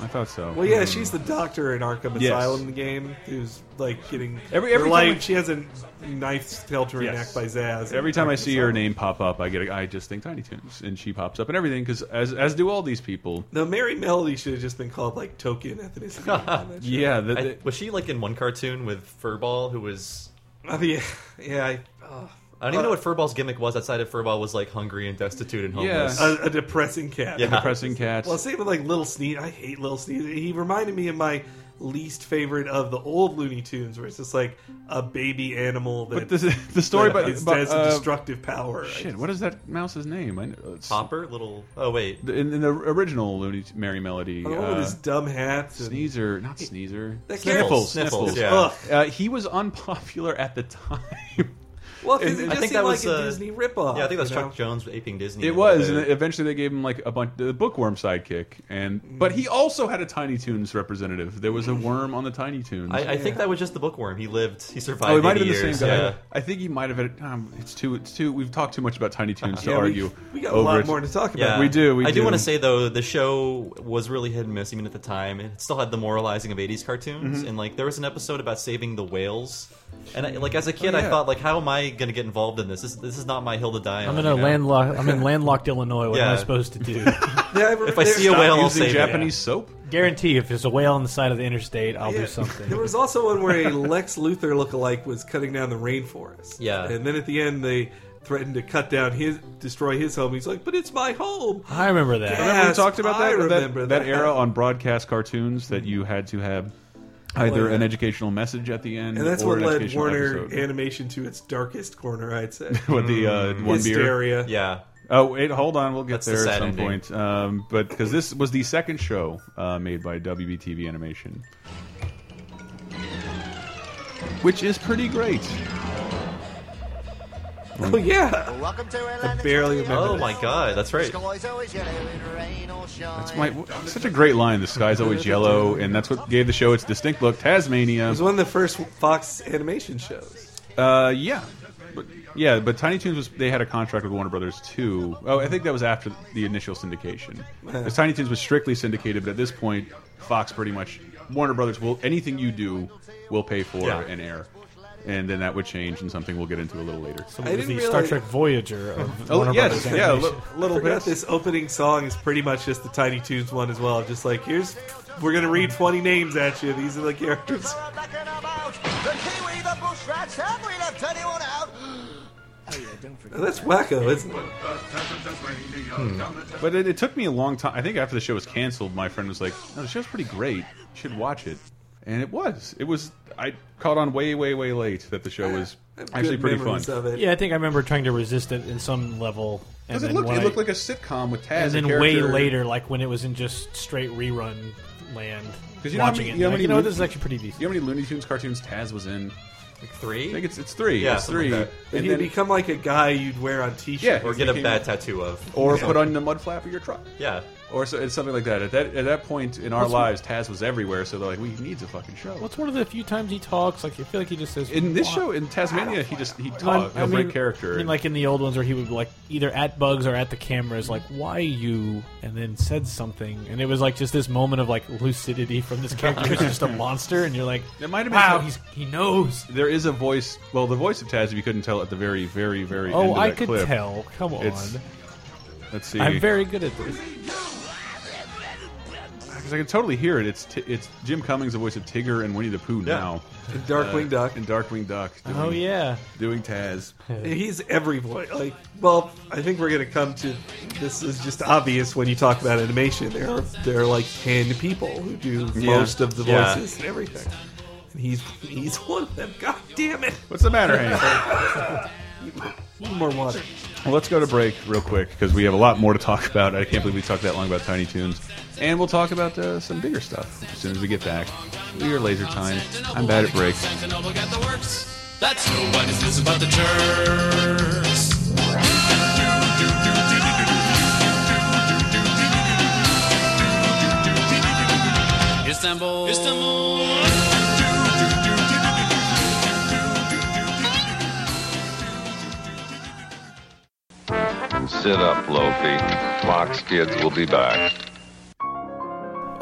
I thought so.
Hmm? Well, yeah, she's the doctor in Arkham
Hmm. Yes.
Asylum in the game who's like getting
Every- every
her
time
life-
I-
she has a knife held to her
Yes.
neck by Zaz. in
Every time I
Arkham
see her
Asylum.
name pop up, I get a, I just think Tiny Toons, and she pops up and everything because as as do all these people.
No, Mary Melody should have just been called like token ethnicity. on that show.
Yeah, the,
I,
the,
was she like in one cartoon with Furball, who was
I mean, yeah, I, oh,
I don't even know what Furball's gimmick was outside of Furball was like hungry and destitute and
Yeah.
homeless.
a, a depressing cat.
Yeah.
pressing cats.
Well, same with like Little Sneeze. I hate Little Sneeze. He reminded me of my least favorite of the old Looney Tunes, where it's just like a baby animal
but
that
the the story
that
about,
is-
about,
has
uh,
a destructive power.
shit. What is that mouse's name? I know, it's-
Popper, little. Oh wait,
in, in the original Looney T- Mary Melody.
I don't know
uh,
with his dumb hats. And,
Sneezer, not Sneezer.
That
Sniffles, Sniffles,
Sniffles, Sniffles.
yeah.
Ugh.
Uh, he was unpopular at the time.
Well, 'cause
And I
it just
think
seemed
that was
like a
uh,
Disney ripoff.
Yeah, I think that was
you
Chuck
know?
Jones aping Disney.
It was, and eventually they gave him like a bunch the bookworm sidekick, and but he also had a Tiny Toons representative. There was a worm on the Tiny Toons.
I, I think that was just the bookworm. He lived. He survived.
Oh, it might
80
have been the same
years,
guy.
Yeah.
I think he might have had. Um, it's too. It's too. We've talked too much about Tiny Toons to
Yeah, we-
argue.
we got a
over
lot
it.
more to talk about.
Yeah.
We do. We
I do,
do
want to say though, the show was really hit and miss even at the time. It still had the moralizing of '80s cartoons,
Mhm.
and like there was an episode about saving the whales. And I, like as a kid,
Oh,
I
yeah.
thought like, how am I going to get involved in this? This, this is not my hill to die on.
I'm in a
you know?
landlocked. I'm in landlocked Illinois. What am
Yeah.
I supposed to do?
If I see a whale, I'll save
Japanese
it.
soap.
Guarantee, if there's a whale on the side of the interstate, I'll
Yeah.
do something.
There was also one where a Lex Luthor lookalike was cutting down the rainforest.
Yeah.
and then at the end they threatened to cut down his, destroy his home. He's like, "But it's my home."
I remember that.
Remember we
Yes,
talked about
I
that, that-
remember
that
that.
era on broadcast cartoons that you had to have either an educational message at the end,
Oh, And that's
or
what
an
led
educational
Warner
episode.
animation to its darkest corner, I'd say.
with the uh, one
Mm, Hysteria.
beer.
Yeah.
Oh wait, hold on. We'll get
That's the
there at
sad
some
ending.
point. Um, but because this was the second show uh, made by WBTV Animation, which is pretty great.
Oh yeah.
Welcome to Atlanta.
barely remember
Oh
that.
my god, that's right.
Sky's always yellow in rain or shine.
That's my such a great line. The sky's always yellow, and that's what gave the show its distinct look. Tasmania.
It was one of the first Fox animation shows.
Uh, yeah, but yeah, but Tiny Toons was they had a contract with Warner Brothers too. Oh, I think that was after the initial syndication. 'Cause Tiny Toons was strictly syndicated, but at this point, Fox pretty much Warner Brothers will anything you do will pay for
Yeah.
and air, and then that would change, and something we'll get into a little later.
So it was the Star Trek Voyager of
Oh,
Warner
yes,
Brothers
yeah, a
Animation.
li- little
I forgot
bit.
This opening song is pretty much just the Tiny Toons one as well. Just like here's, we're gonna read twenty names at you. These are the characters.
The kiwi, the bush rats, have we left anyone out?
That's wacko, isn't it?
Hmm. But it, it took me a long time. I think after the show was canceled, my friend was like, "No, the show's pretty great. You should watch it." And it was. It was. I caught on way, way, way late that the show was actually pretty fun.
Yeah, I think I remember trying to resist it in some level. And
Because it
then
looked,
when
it
I-
looked like a sitcom with Taz.
and then way later, like when it was in just straight rerun land.
because you know, how
watching
many-
it,
you know, how
like,
many
you know
Looney-
this is actually pretty decent.
You know how many Looney Tunes cartoons Taz was in?
Like three.
I think it's it's three.
Yeah,
it's
something
three.
like that.
And you become like a guy you'd wear on T-shirt.
Yeah,
Or get a
became-
bad tattoo of.
or
Yeah.
put on the mud flap of your truck.
Yeah.
Or so, it's something like that. At that at that point in our
What's-
lives, Taz was everywhere. So they're like, we need a fucking show.
What's one of the few times he talks? Like I feel like he just says
in this
"Wah."
show in Tasmania, he just he
Well,
talked. He'll break character.
I mean, like in the old ones where he would like either at bugs or at the cameras, like "Why you?" and then said something, and it was like just this moment of like lucidity from this character who's just a monster, and you're like,
It might have been
"Wow,
some-
he's he knows."
There is a voice. Well, the voice of Taz, if you couldn't tell at the very, very, very end
Oh,
of
I
that
could
clip,
tell. Come on,
it's- Let's see.
I'm very good at this.
because I can totally hear it. It's t it's Jim Cummings, the voice of Tigger and Winnie the Pooh now.
And
uh,
Darkwing Duck.
and Darkwing Duck. Doing,
Oh yeah,
doing Taz.
He's every voice. Like, well, I think we're gonna come to. This is just obvious when you talk about animation. There are there are like ten people who do
Yeah.
most of the
Yeah.
voices and everything. And he's he's one of them. God damn it!
What's the matter, Hank?
One more water.
well, let's go to break real quick because we have a lot more to talk about. I can't believe we talked that long about Tiny Toons, and we'll talk about uh, some bigger stuff as soon as we get back. We are Laser Time. I'm bad at breaks.
Sentinel got the works. That's nobody's business about the jerks. Istanbul. Istanbul.
Sit up, Lofi. Fox Kids will be back.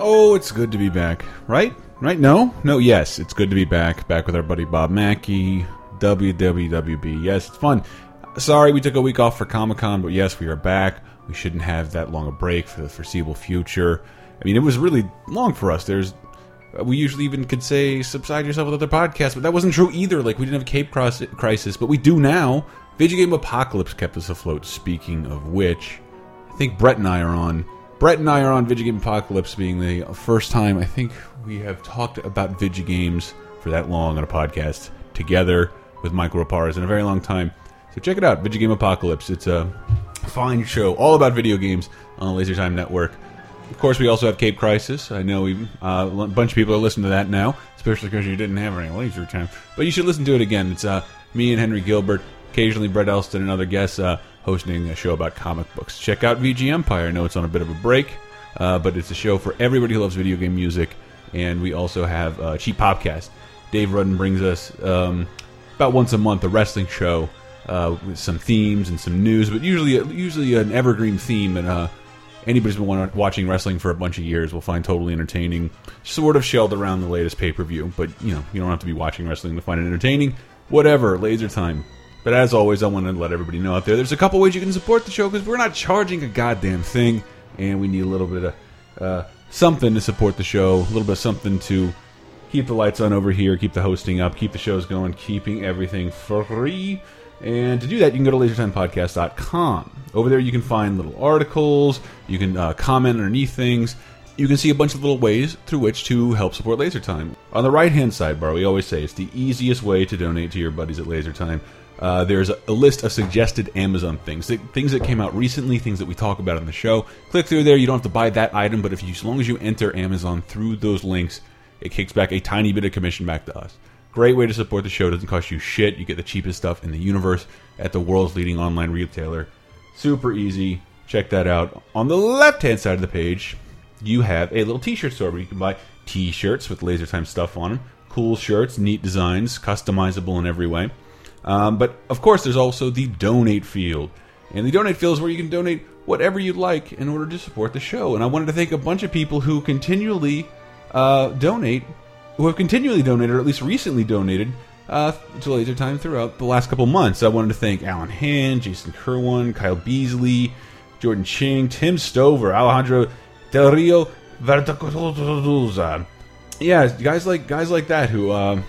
Oh, it's good to be back. Right? Right? No? No, yes. It's good to be back. Back with our buddy Bob Mackey. WWWB. Yes, it's fun. Sorry we took a week off for Comic Con, but yes, we are back. We shouldn't have that long a break for the foreseeable future. I mean, it was really long for us. There's. We usually even could say subside yourself with other podcasts, but that wasn't true either. Like, we didn't have Cape Cros- Crisis, but we do now. Video Game Apocalypse kept us afloat. Speaking of which, I think Brett and I are on. Brett and I are on Video Game Apocalypse, being the first time I think we have talked about video games for that long on a podcast together with Mike Ropars in a very long time. So check it out, Video Game Apocalypse. It's a fine show all about video games on the LaserTime Network. Of course, we also have Cape Crisis. I know we, uh, a bunch of people are listening to that now, especially because you didn't have any laser time. But you should listen to it again. It's uh, me and Henry Gilbert occasionally Brett Elston and other guests uh, hosting a show about comic books. Check out VG Empire. I know it's on a bit of a break, uh, but it's a show for everybody who loves video game music. And we also have uh, Cheap Popcast. Dave Rudden brings us um, about once a month a wrestling show uh, with some themes and some news, but usually usually an evergreen theme. And uh, anybody's been wa- watching wrestling for a bunch of years will find totally entertaining. Sort of shelled around the latest pay per view, but you know you don't have to be watching wrestling to find it entertaining. Whatever, laser time. But as always, I want to let everybody know out there there's a couple ways you can support the show because we're not charging a goddamn thing, and we need a little bit of uh, something to support the show, a little bit of something to keep the lights on over here, keep the hosting up, keep the shows going, keeping everything free. And to do that, you can go to lasertimepodcast.com. Over there, you can find little articles, you can uh, comment underneath things. You can see a bunch of little ways through which to help support Laser Time. On the right hand sidebar, we always say it's the easiest way to donate to your buddies at Laser Time. Uh, there's a, a list of suggested Amazon things, th- things that came out recently, things that we talk about on the show. Click through there. You don't have to buy that item, but if you, as long as you enter Amazon through those links, it kicks back a tiny bit of commission back to us. Great way to support the show. Doesn't cost you shit. You get the cheapest stuff in the universe at the world's leading online retailer. Super easy. Check that out. On the left hand side of the page, you have a little t shirt store where you can buy t shirts with laser time stuff on them. Cool shirts, neat designs, customizable in every way. Um, but of course, there's also the donate field. And the donate field is where you can donate whatever you'd like in order to support the show. And I wanted to thank a bunch of people who continually uh, donate, who have continually donated, or at least recently donated, uh, to Laser Time throughout the last couple months. I wanted to thank Alan Hand, Jason Kerwin, Kyle Beasley, Jordan Ching, Tim Stover, Alejandro Del Rio, Vertacotosa. Yeah, guys like guys like that who um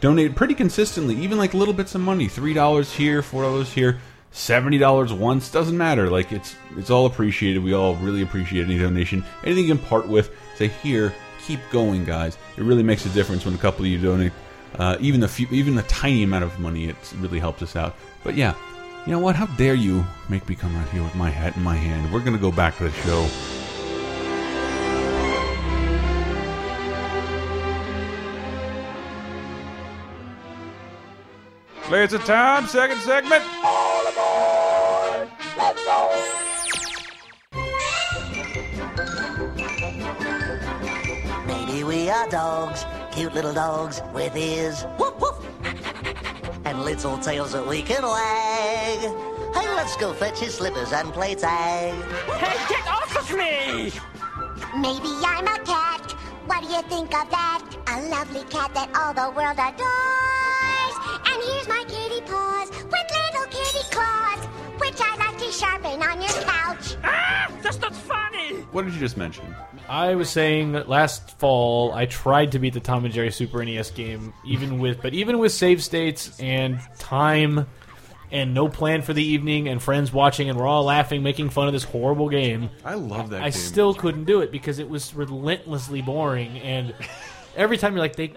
donate pretty consistently, even like little bits of money, three dollars here, four dollars here, seventy dollars once doesn't matter. Like it's it's all appreciated. We all really appreciate any donation, anything you can part with. Say here, keep going, guys. It really makes a difference when a couple of you donate, uh, even the few, even the tiny amount of money. It really helps us out. But yeah, you know what? How dare you make me come out here with my hat in my hand? We're gonna go back to the show. Laser time, second segment.
All aboard! Let's go!
Maybe we are dogs, cute little dogs with ears, woof woof, and little tails that we can wag. Hey, let's go fetch his slippers and play tag. Hey, get off of me!
Maybe I'm a cat. What do you think of that? A lovely cat that all the world adores. And here's my kitty paws with little kitty claws, which I like to sharpen on your couch. Ah, that's not funny.
What did you just mention?
I was saying that last fall I tried to beat the Tom and Jerry Super NES game, even with but even with save states and time and no plan for the evening and friends watching and we're all laughing, making fun of this horrible game.
I love that
I
game.
still couldn't do it because it was relentlessly boring and every time you're like they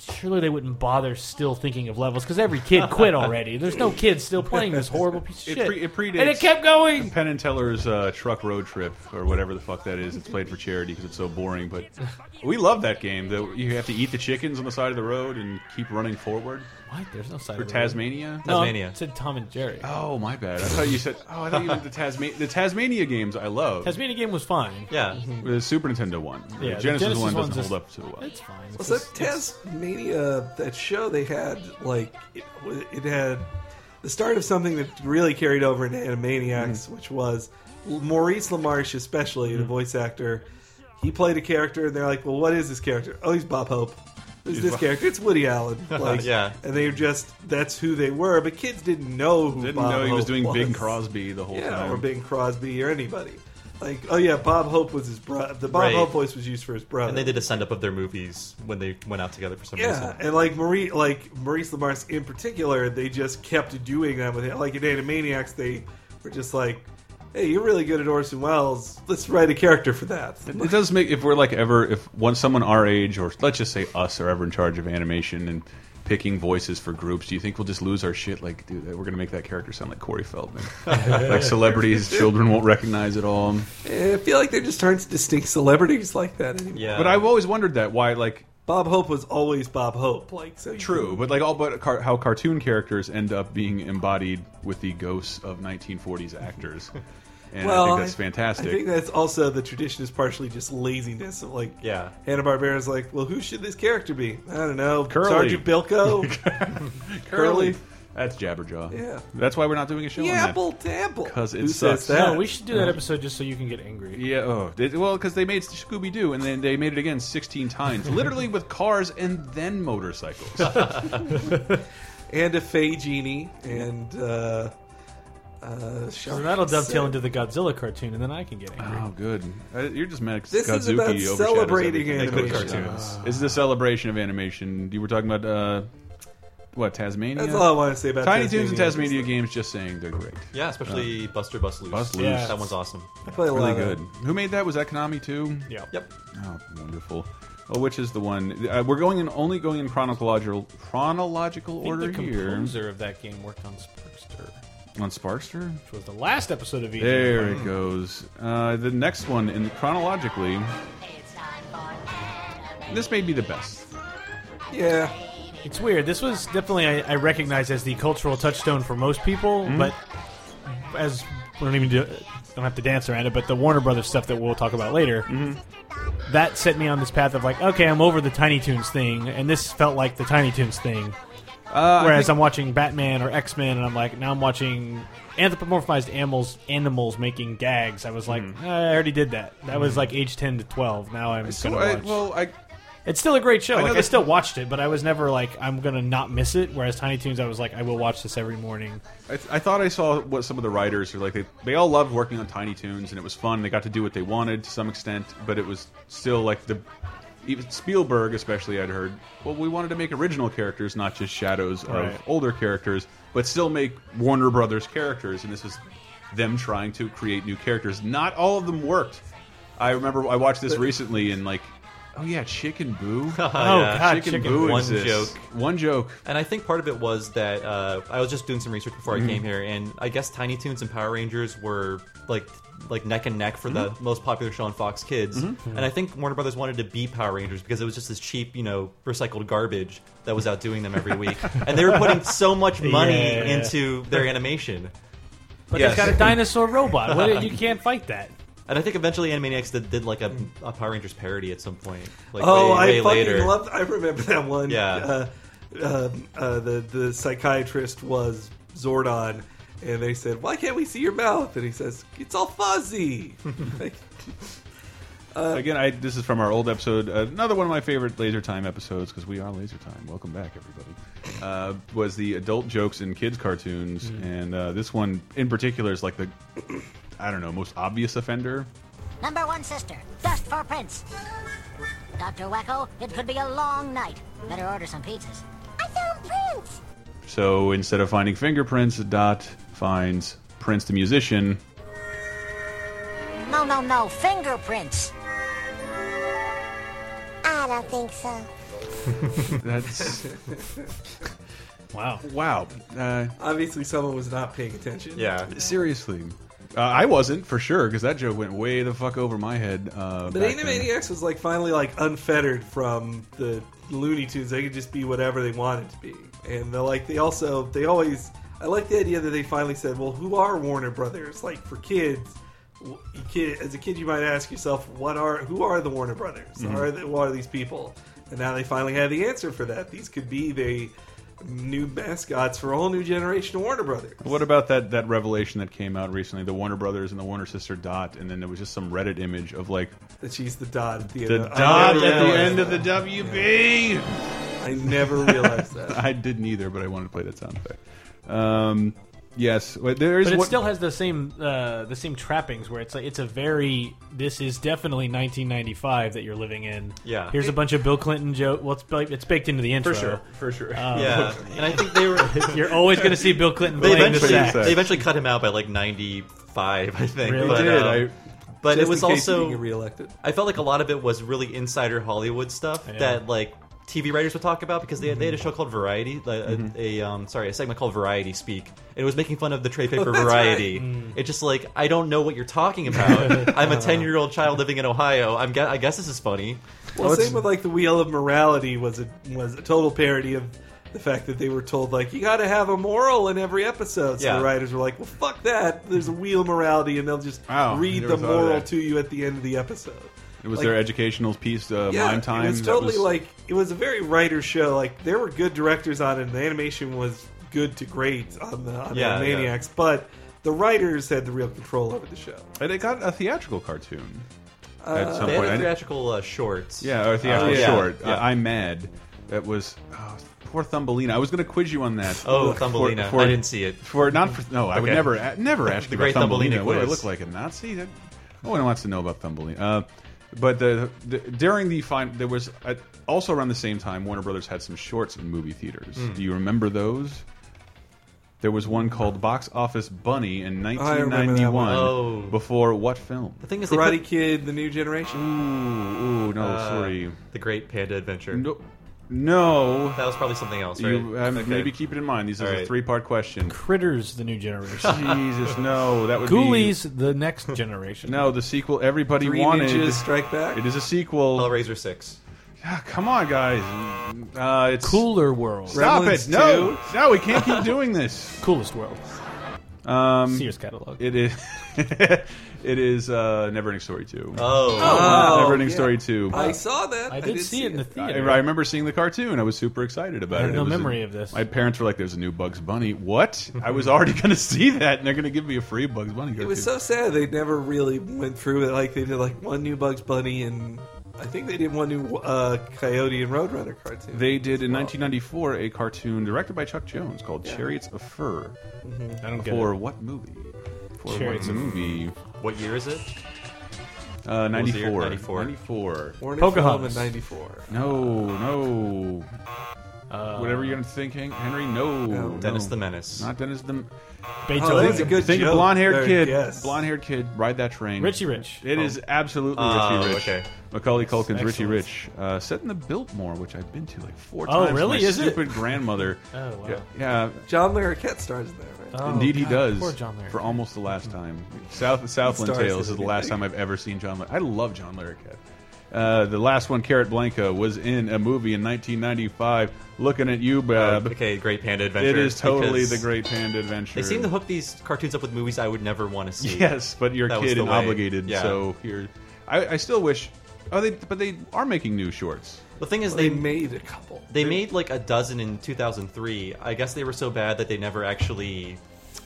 surely they wouldn't bother still thinking of levels because every kid quit already. There's no kids still playing this horrible piece of
It,
shit.
pre- it predates
and it kept going.
Penn and Teller's uh, truck road trip or whatever the fuck that is. It's played for charity because it's so boring. But we love that game. That you have to eat the chickens on the side of the road and keep running forward.
What? There's no side
for
of the road.
Tasmania.
No, Tasmania. it said Tom and Jerry.
Oh my bad. I thought you said. Oh, I thought you meant the Tasmania. The Tasmania games I love.
Tasmania game was fine.
Yeah, the Super Nintendo one.
Yeah,
the
the
Genesis,
Genesis
one doesn't
one's just-
hold up so well.
It's fine.
Was that Tasmania? That show they had like it, w- it had the start of something that really carried over into Animaniacs,
Mm-hmm.
which was Maurice LaMarche, especially the voice actor. He played a character, and they're like, "Well, what is this character? Oh, he's Bob Hope. Who's
He's
this
Bob-
character? It's Woody Allen." Like,
Yeah.
and they were just that's who they were, but kids didn't know who
Didn't
Bob
know he was
Hope
doing Bing Crosby the whole
yeah,
time.
or Bing Crosby or anybody. Like, oh yeah, Bob Hope was his brother. The Bob
Right.
Hope voice was used for his brother.
And they did a send up of their movies when they went out together for some
Yeah,
reason.
and like Marie, like Maurice LaMarche in particular, they just kept doing that with it. Like in Animaniacs, they were just like, "Hey, you're really good at Orson Welles. Let's write a character for that."
It it does make if we're like ever if once someone our age or let's just say us are ever in charge of animation and picking voices for groups. Do you think we'll just lose our shit? Like, dude, we're gonna make that character sound like Corey Feldman. like celebrities, children won't recognize it all.
I feel like there just aren't distinct celebrities like that anymore.
But I've always wondered that why like
Bob Hope was always Bob Hope. Like so you
True, but like all but car how cartoon characters end up being embodied with the ghosts of 1940s actors, and I think that's fantastic.
I think that's also the tradition is partially just laziness. Of like,
Yeah.
Hanna Barbera's like, well, who should this character be? I don't know,
Curly.
Sergeant Bilko, Curly.
That's Jabberjaw.
Yeah.
That's why we're not doing a show
Yeah,
on that.
apple to apple.
Because it
Who says
sucks.
that?
No, we should do that episode just so you can get angry.
Yeah, oh, they, well, because they made Scooby Doo and then they made it again 16 times, literally with cars and then motorcycles.
and a Fey Genie, and uh, uh,
So that'll dovetail into the Godzilla cartoon, and then I can get angry.
Oh, good. Uh, You're just mad. 'cause
This is
Godzuki
about
overshadows
celebrating
everything.
animation.
Good cartoons. This is a celebration of animation. You were talking about uh, what Tasmania?
That's all I want to say about
Tiny Toons
Tasmania.
and Tasmania games. Just saying, they're great.
Yeah, especially Buster Bust Loose.
Bust Loose.
Yeah. That one's awesome. I
play a
really
lot
good.
of
Who made that? Was that Konami too?
Yeah.
Yep.
Oh, wonderful. Oh, which is the one? Uh, we're going in only going in chronological chronological
I think
order
the
here
composer of that game worked on Sparkster,
on Sparkster.
which was the last episode of E.
There it goes. Uh, the next one in chronologically. This may be the best.
Yeah.
It's weird. This was definitely I, I recognize as the cultural touchstone for most people,
Mhm.
but as we don't even do, don't have to dance around it. But the Warner Brothers stuff that we'll talk about later,
Mm-hmm.
that set me on this path of like, okay, I'm over the Tiny Toons thing, and this felt like the Tiny Toons thing.
Uh, I
Whereas
think-
I'm watching Batman or X Men, and I'm like, now I'm watching anthropomorphized animals, animals making gags. I was like, "Eh, I already did that. That was like age ten to twelve. Now I'm
So
gonna
Mm-hmm. I,
watch.
well, I
It's still a great show.
I
I,
know
like, I
that-
still watched it, but I was never like I'm gonna not miss it. Whereas Tiny Toons, I was like I will watch this every morning.
I, th I thought I saw what some of the writers are like. They, they all loved working on Tiny Toons, and it was fun. They got to do what they wanted to some extent, but it was still like the even Spielberg, especially. I'd heard, well, we wanted to make original characters, not just shadows
Right.
of older characters, but still make Warner Brothers characters. And this was them trying to create new characters. Not all of them worked. I remember I watched this recently, and like, oh yeah, Chicken Boo. oh
Yeah.
Chicken, Boo
one
exists.
joke.
One joke.
And I think part of it was that uh, I was just doing some research before
Mhm.
I came here, and I guess Tiny Toons and Power Rangers were like like neck and neck for the most popular show on Fox Kids.
Mhm.
And I think Warner Brothers wanted to be Power Rangers because it was just this cheap, you know, recycled garbage that was outdoing them every week, and they were putting so much money
Yeah.
into their animation.
But
Yes.
it's got a dinosaur robot. What, you can't fight that.
And I think eventually Animaniacs did, did like a, a Power Rangers parody at some point. Like
oh,
way, way
I fucking
later.
loved. I remember that one.
Yeah.
Uh, um, uh, the the psychiatrist was Zordon, and they said, "Why can't we see your mouth?" And he says, "It's all fuzzy." Like,
Again, I, this is from our old episode. Another one of my favorite Laser Time episodes because we are Laser Time. Welcome back, everybody. Uh, was the adult jokes in kids cartoons,
Mhm.
and uh, this one in particular is like the, I don't know, most obvious offender.
Number one sister, dust for Prince. Dr. Wacko, it could be a long night. Better order some pizzas. I found Prince!
So instead of finding fingerprints, Dot finds Prince the musician.
No, no, no, fingerprints.
I don't think so.
That's
wow,
wow. Uh,
Obviously, someone was not paying attention.
seriously. Uh, I wasn't for sure because that joke went way the fuck over my head. Uh,
But
back then.
Animaniacs was like finally like unfettered from the Looney Tunes. They could just be whatever they wanted to be, and they're like they also they always. I like the idea that they finally said, "Well, who are Warner Brothers?" Like for kids, w- you kid as a kid, you might ask yourself, "What are who are the Warner Brothers?
Mm-hmm.
Mhm.
Are the, what are these people?" And now they finally have the answer for that. These could be the new mascots for a whole new generation of Warner Brothers.
What about that that revelation that came out recently? The Warner Brothers and the Warner sister Dot, and then there was just some Reddit image of like
That she's the Dot at the end.
the
of- I
Dot at
never
the
realized
end of the
that.
WB.
I never realized that.
I didn't either, but I wanted to play that sound effect. Um, yes, but there is
but it
one-
still has the same uh, the same trappings where it's like it's a very this is definitely 1995 that you're living in.
Yeah.
here's a bunch of Bill Clinton joke. Well, it's, ba- it's baked into the intro
sure, for sure.
uh,
Um,
Yeah, and I think they were.
you're always going to see Bill Clinton.
They
playing the
eventually,
sax.
they eventually cut him out by like ninety five, I think.
Really?
But,
They did,
uh,
I-
but
Just
it was
in case he
also
didn't get reelected.
I felt like a lot of it was really insider Hollywood stuff
Yeah. Mm-hmm.
that like TV writers would talk about because they had, they had a show called Variety, like, a- a, um, sorry, a segment called Variety Speak, and it was making fun of the trade paper
That's
variety.
right. Mm.
It's just like I don't know what you're talking about. I'm a ten year old child living in Ohio. I'm gu- I guess this is funny.
Well, same with like the Wheel of Morality was a was a total parody of the fact that they were told like you got to have a moral in every episode. So
Yeah.
the writers were like, "Well, fuck that. There's a wheel of morality, and they'll just
Wow, I
read
never
the
thought of
moral
that.
to you at the end of the episode."
It was
Like,
their educational piece, uh,
yeah,
Mime Time.
It was
that
totally
was-
like it was a very writer show. Like there were good directors on it. and The animation was good to great on the on
Yeah,
the Maniacs, but the writers had the real control over the show.
And it got a theatrical cartoon at
Uh,
some
they had
point.
a
I-
theatrical uh, shorts.
Yeah, or a theatrical
Uh, yeah.
short.
Yeah.
I, I'm mad. That was oh, poor Thumbelina. I was going to quiz you on that.
Oh, Thumbelina. I didn't see it.
For not for no, I would
Okay.
never a- never ask
The
you about
great
Thumbelina.
Thumbelina
What do I
quiz.
look like a Nazi? That- No one wants to know about Thumbelina. Uh, but the, the during the fine, there was uh also around the same time Warner Brothers had some shorts in movie theaters.
Hmm.
Mm.
Do you remember those? There was one called Box Office Bunny in
Oh,
I remember that one.
1991.
Oh.
Before what film?
The thing is,
Karate
they put,
Kid, the new generation.
Mm, Ooh, ooh no,
Uh,
sorry.
The Great Panda Adventure.
No, no.
That was probably something else, right?
You, um,
Okay.
Maybe keep it in mind. These
All
are a
right.
three-part question.
Critters, the new generation.
Jesus, no, that would be-
Ghoulies, the next generation.
No, the sequel everybody
Three
wanted.
Ninjas Strike Back?
It is a sequel.
Hellraiser Six.
Yeah, come on, guys. Uh, it's
Cooler World.
Stop
Gremlins
it! No,
2.
no, we can't keep doing this.
Coolest World.
Um,
Sears catalog.
It is. it is uh, Neverending Story two.
Oh.
Oh,
Neverending
yeah.
Story two.
I saw that.
I did, see, it in the
I,
theater.
I remember seeing the cartoon. I was super excited about
I have
it. It
no
was
memory
a-
of this.
My parents were like, "There's a new Bugs Bunny." What? I was already going to see that, and they're going to give me a free Bugs Bunny cartoon.
It was so sad they never really went through it. Like they did like one new Bugs Bunny and I think they did one new uh, Coyote and Roadrunner cartoon.
They did in 1994 a cartoon directed by Chuck Jones called Chariots of Fur.
Mhm.
I don't get
For
it.
what movie? For
Chariots
what
of-
movie?
What year is it?
Uh,
What was the year?
94.
94.
94.
Warner Pocahontas. Film in 94.
No, no.
Uh,
Whatever you're thinking, Henry. No,
No.
no.
Dennis the Menace.
Not Dennis the.
Beethoven.
Oh,
That's a good
Think of
joke.
blonde-haired
There,
kid.
yes.
Blonde-haired kid. Ride that train.
Richie Rich.
It
Oh.
is absolutely
Oh,
Richie Rich.
okay.
Macaulay Culkin's Richie
Excellent.
Rich, uh, set in the Biltmore, which I've been to like four
Oh,
times.
really?
My
Is it?
stupid grandmother.
Oh, wow.
Yeah, yeah.
John Larroquette stars in there, right?
Indeed, he
Oh, God,
does.
poor John Larroquette.
For almost the last time, South Southland
Stars
Tales
in
is the last time I've ever seen John. Lar- I love John Larroquette. Uh, the last one, Carrot Blanca, was in a movie in 1995. Looking at you, Bob.
okay, Great Panda Oh, Adventure.
uh, It is totally
because
the Great Panda Adventure.
They seem to hook these cartoons up with movies I would never want to see.
Yes, but you're a
That was
kid
the
and
way.
obligated.
Yeah.
So here, I, I still wish. Oh, they but they are making new shorts.
The thing is,
Well,
they,
they made a couple.
They made like a dozen in 2003. I guess they were so bad that they never actually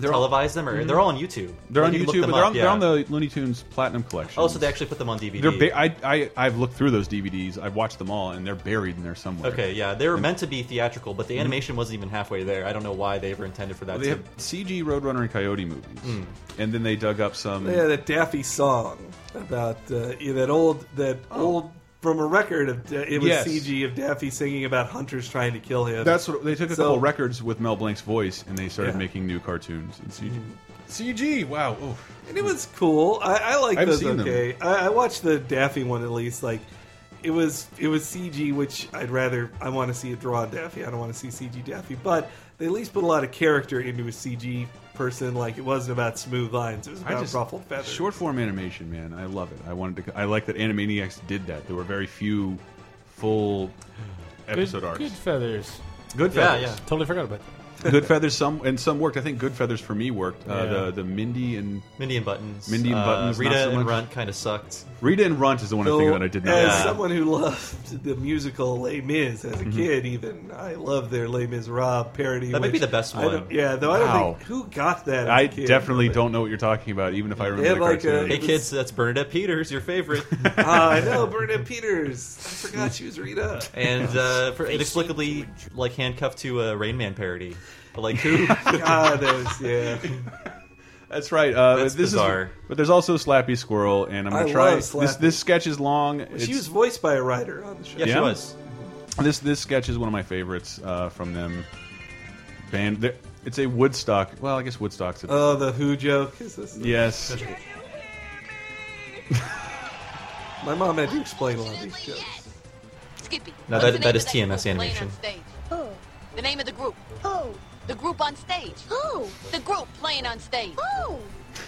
They're all-
televised them, or
Mhm.
they're all on YouTube.
They're
You
on
can look
YouTube,
them
but they're
up,
on,
yeah.
they're on the Looney Tunes Platinum Collection.
Oh, so they actually put them on DVD.
They're ba I, I I've looked through those DVDs. I've watched them all, and they're buried in there somewhere.
Okay, yeah, they were
And-
meant to be theatrical, but the
Mhm.
animation wasn't even halfway there. I don't know why they ever intended for that.
Well, they
to-
have CG Roadrunner and Coyote movies,
Mm.
and then they dug up some.
They had that Daffy song about uh, yeah, that old that old from a record of Da- it was
Yes.
CG of Daffy singing about hunters trying to kill him.
That's what they took a
So-
couple records with Mel Blanc's voice, and they started
Yeah.
making new cartoons in CG.
Hmm.
CG, wow, oof.
and it was cool. I, I like
I've
those.
seen them.
okay, I, I watched the Daffy one at least. Like it was it was CG, which I'd rather I want to see it drawn Daffy. I don't want to see CG Daffy, but they at least put a lot of character into a CG person. Like it wasn't about smooth lines. It was
I
about
just
ruffled feathers.
short form animation, man. I love it. I wanted to. I like that Animaniacs did that. There were very few full episode
good,
arcs. Ah,
Good feathers.
Good
Yeah,
feathers.
yeah. Totally forgot about that.
Goodfeathers some and some worked. I think Goodfeathers for me worked. Uh,
Yeah.
The the Mindy and
Mindy and Buttons.
Mindy and
Uh,
Buttons. not
Rita
so
and
much.
Runt kinda sucked.
Rita and Runt is the one
So,
thing that I did not.
As
like.
someone who loved the musical Les Mis as a
Mhm.
kid, even I love their Les Mis Rob parody.
Mm-hmm. That might
which
be the best
I
one.
don't- Yeah, though I
Wow.
don't think who got that. As
I
a kid?
definitely don't know what you're talking about, even if I remember
had
the
like a-
cartoon.
Hey kids, that's Bernadette Peters, your favorite.
Ah, I know Bernadette Peters. I forgot she was Rita.
and uh, for inexplicably like handcuffed to a Rain Man parody. But like who?
God, that was yeah.
That's right. Uh,
That's
this
bizarre.
Is, but there's also Slappy Squirrel, and I'm gonna
I
try
love
this.
Slappy.
This sketch is long. It's-
She was voiced by a writer on the show.
This this sketch is one of my favorites uh, from them. Band, they're- it's a Woodstock. Well, I guess Woodstock's. A,
Oh, the Who joke. Is this
yes.
My mom had to explain a lot of these jokes.
Skippy.
No,
What's the
that,
name
that is
of
TMS
group playing
animation.
on stage? Who? The name of the group. Who? The group on stage. Who? The group playing on stage. Who?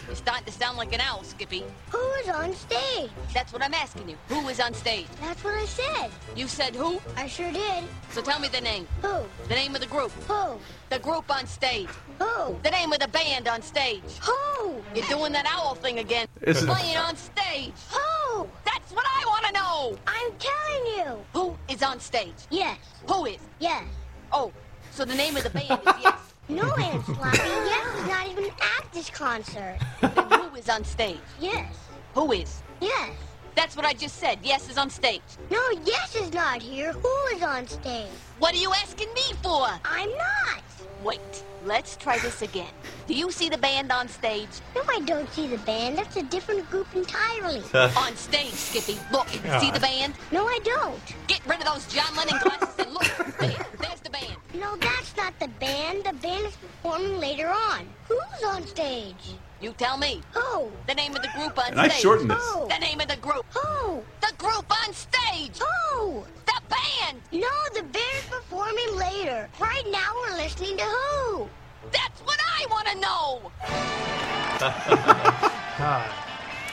You're starting to sound like an owl, Skippy. Who is on stage? That's what I'm asking you. Who is on stage? That's what I said. You said who? I sure did. So tell me the name. Who? The name of the group. Who? The group on stage. Who? The name of the band on stage. Who? You're doing that owl thing again.
This is-
playing on stage. Who? That's what I want to know. I'm telling you. Who is on stage? Yes. Who is? Yes. Oh, so the name of the band is yes.
No, Aunt Sloppy. yes is not even at this concert.
Who is on stage?
Yes.
Who is?
Yes.
That's what I just said. Yes is on stage.
No, yes is not here. Who is on stage?
What are you asking me for?
I'm not.
Wait, let's try this again. Do you see the band on stage?
No, I don't see the band. That's a different group entirely.
on stage, Skippy. Look, see the
God.
band?
No, I don't.
Get rid of those John Lennon glasses and look. There, there's the band.
No, that's not the band. The band is performing later on. Who's on stage?
You tell me.
Who?
The name of the group on
And I
stage.
shortened this.
Who?
The name of the group.
Who?
The group on stage.
Who?
The band.
No, the band is performing later. Right now, we're listening to who?
That's what I want to know.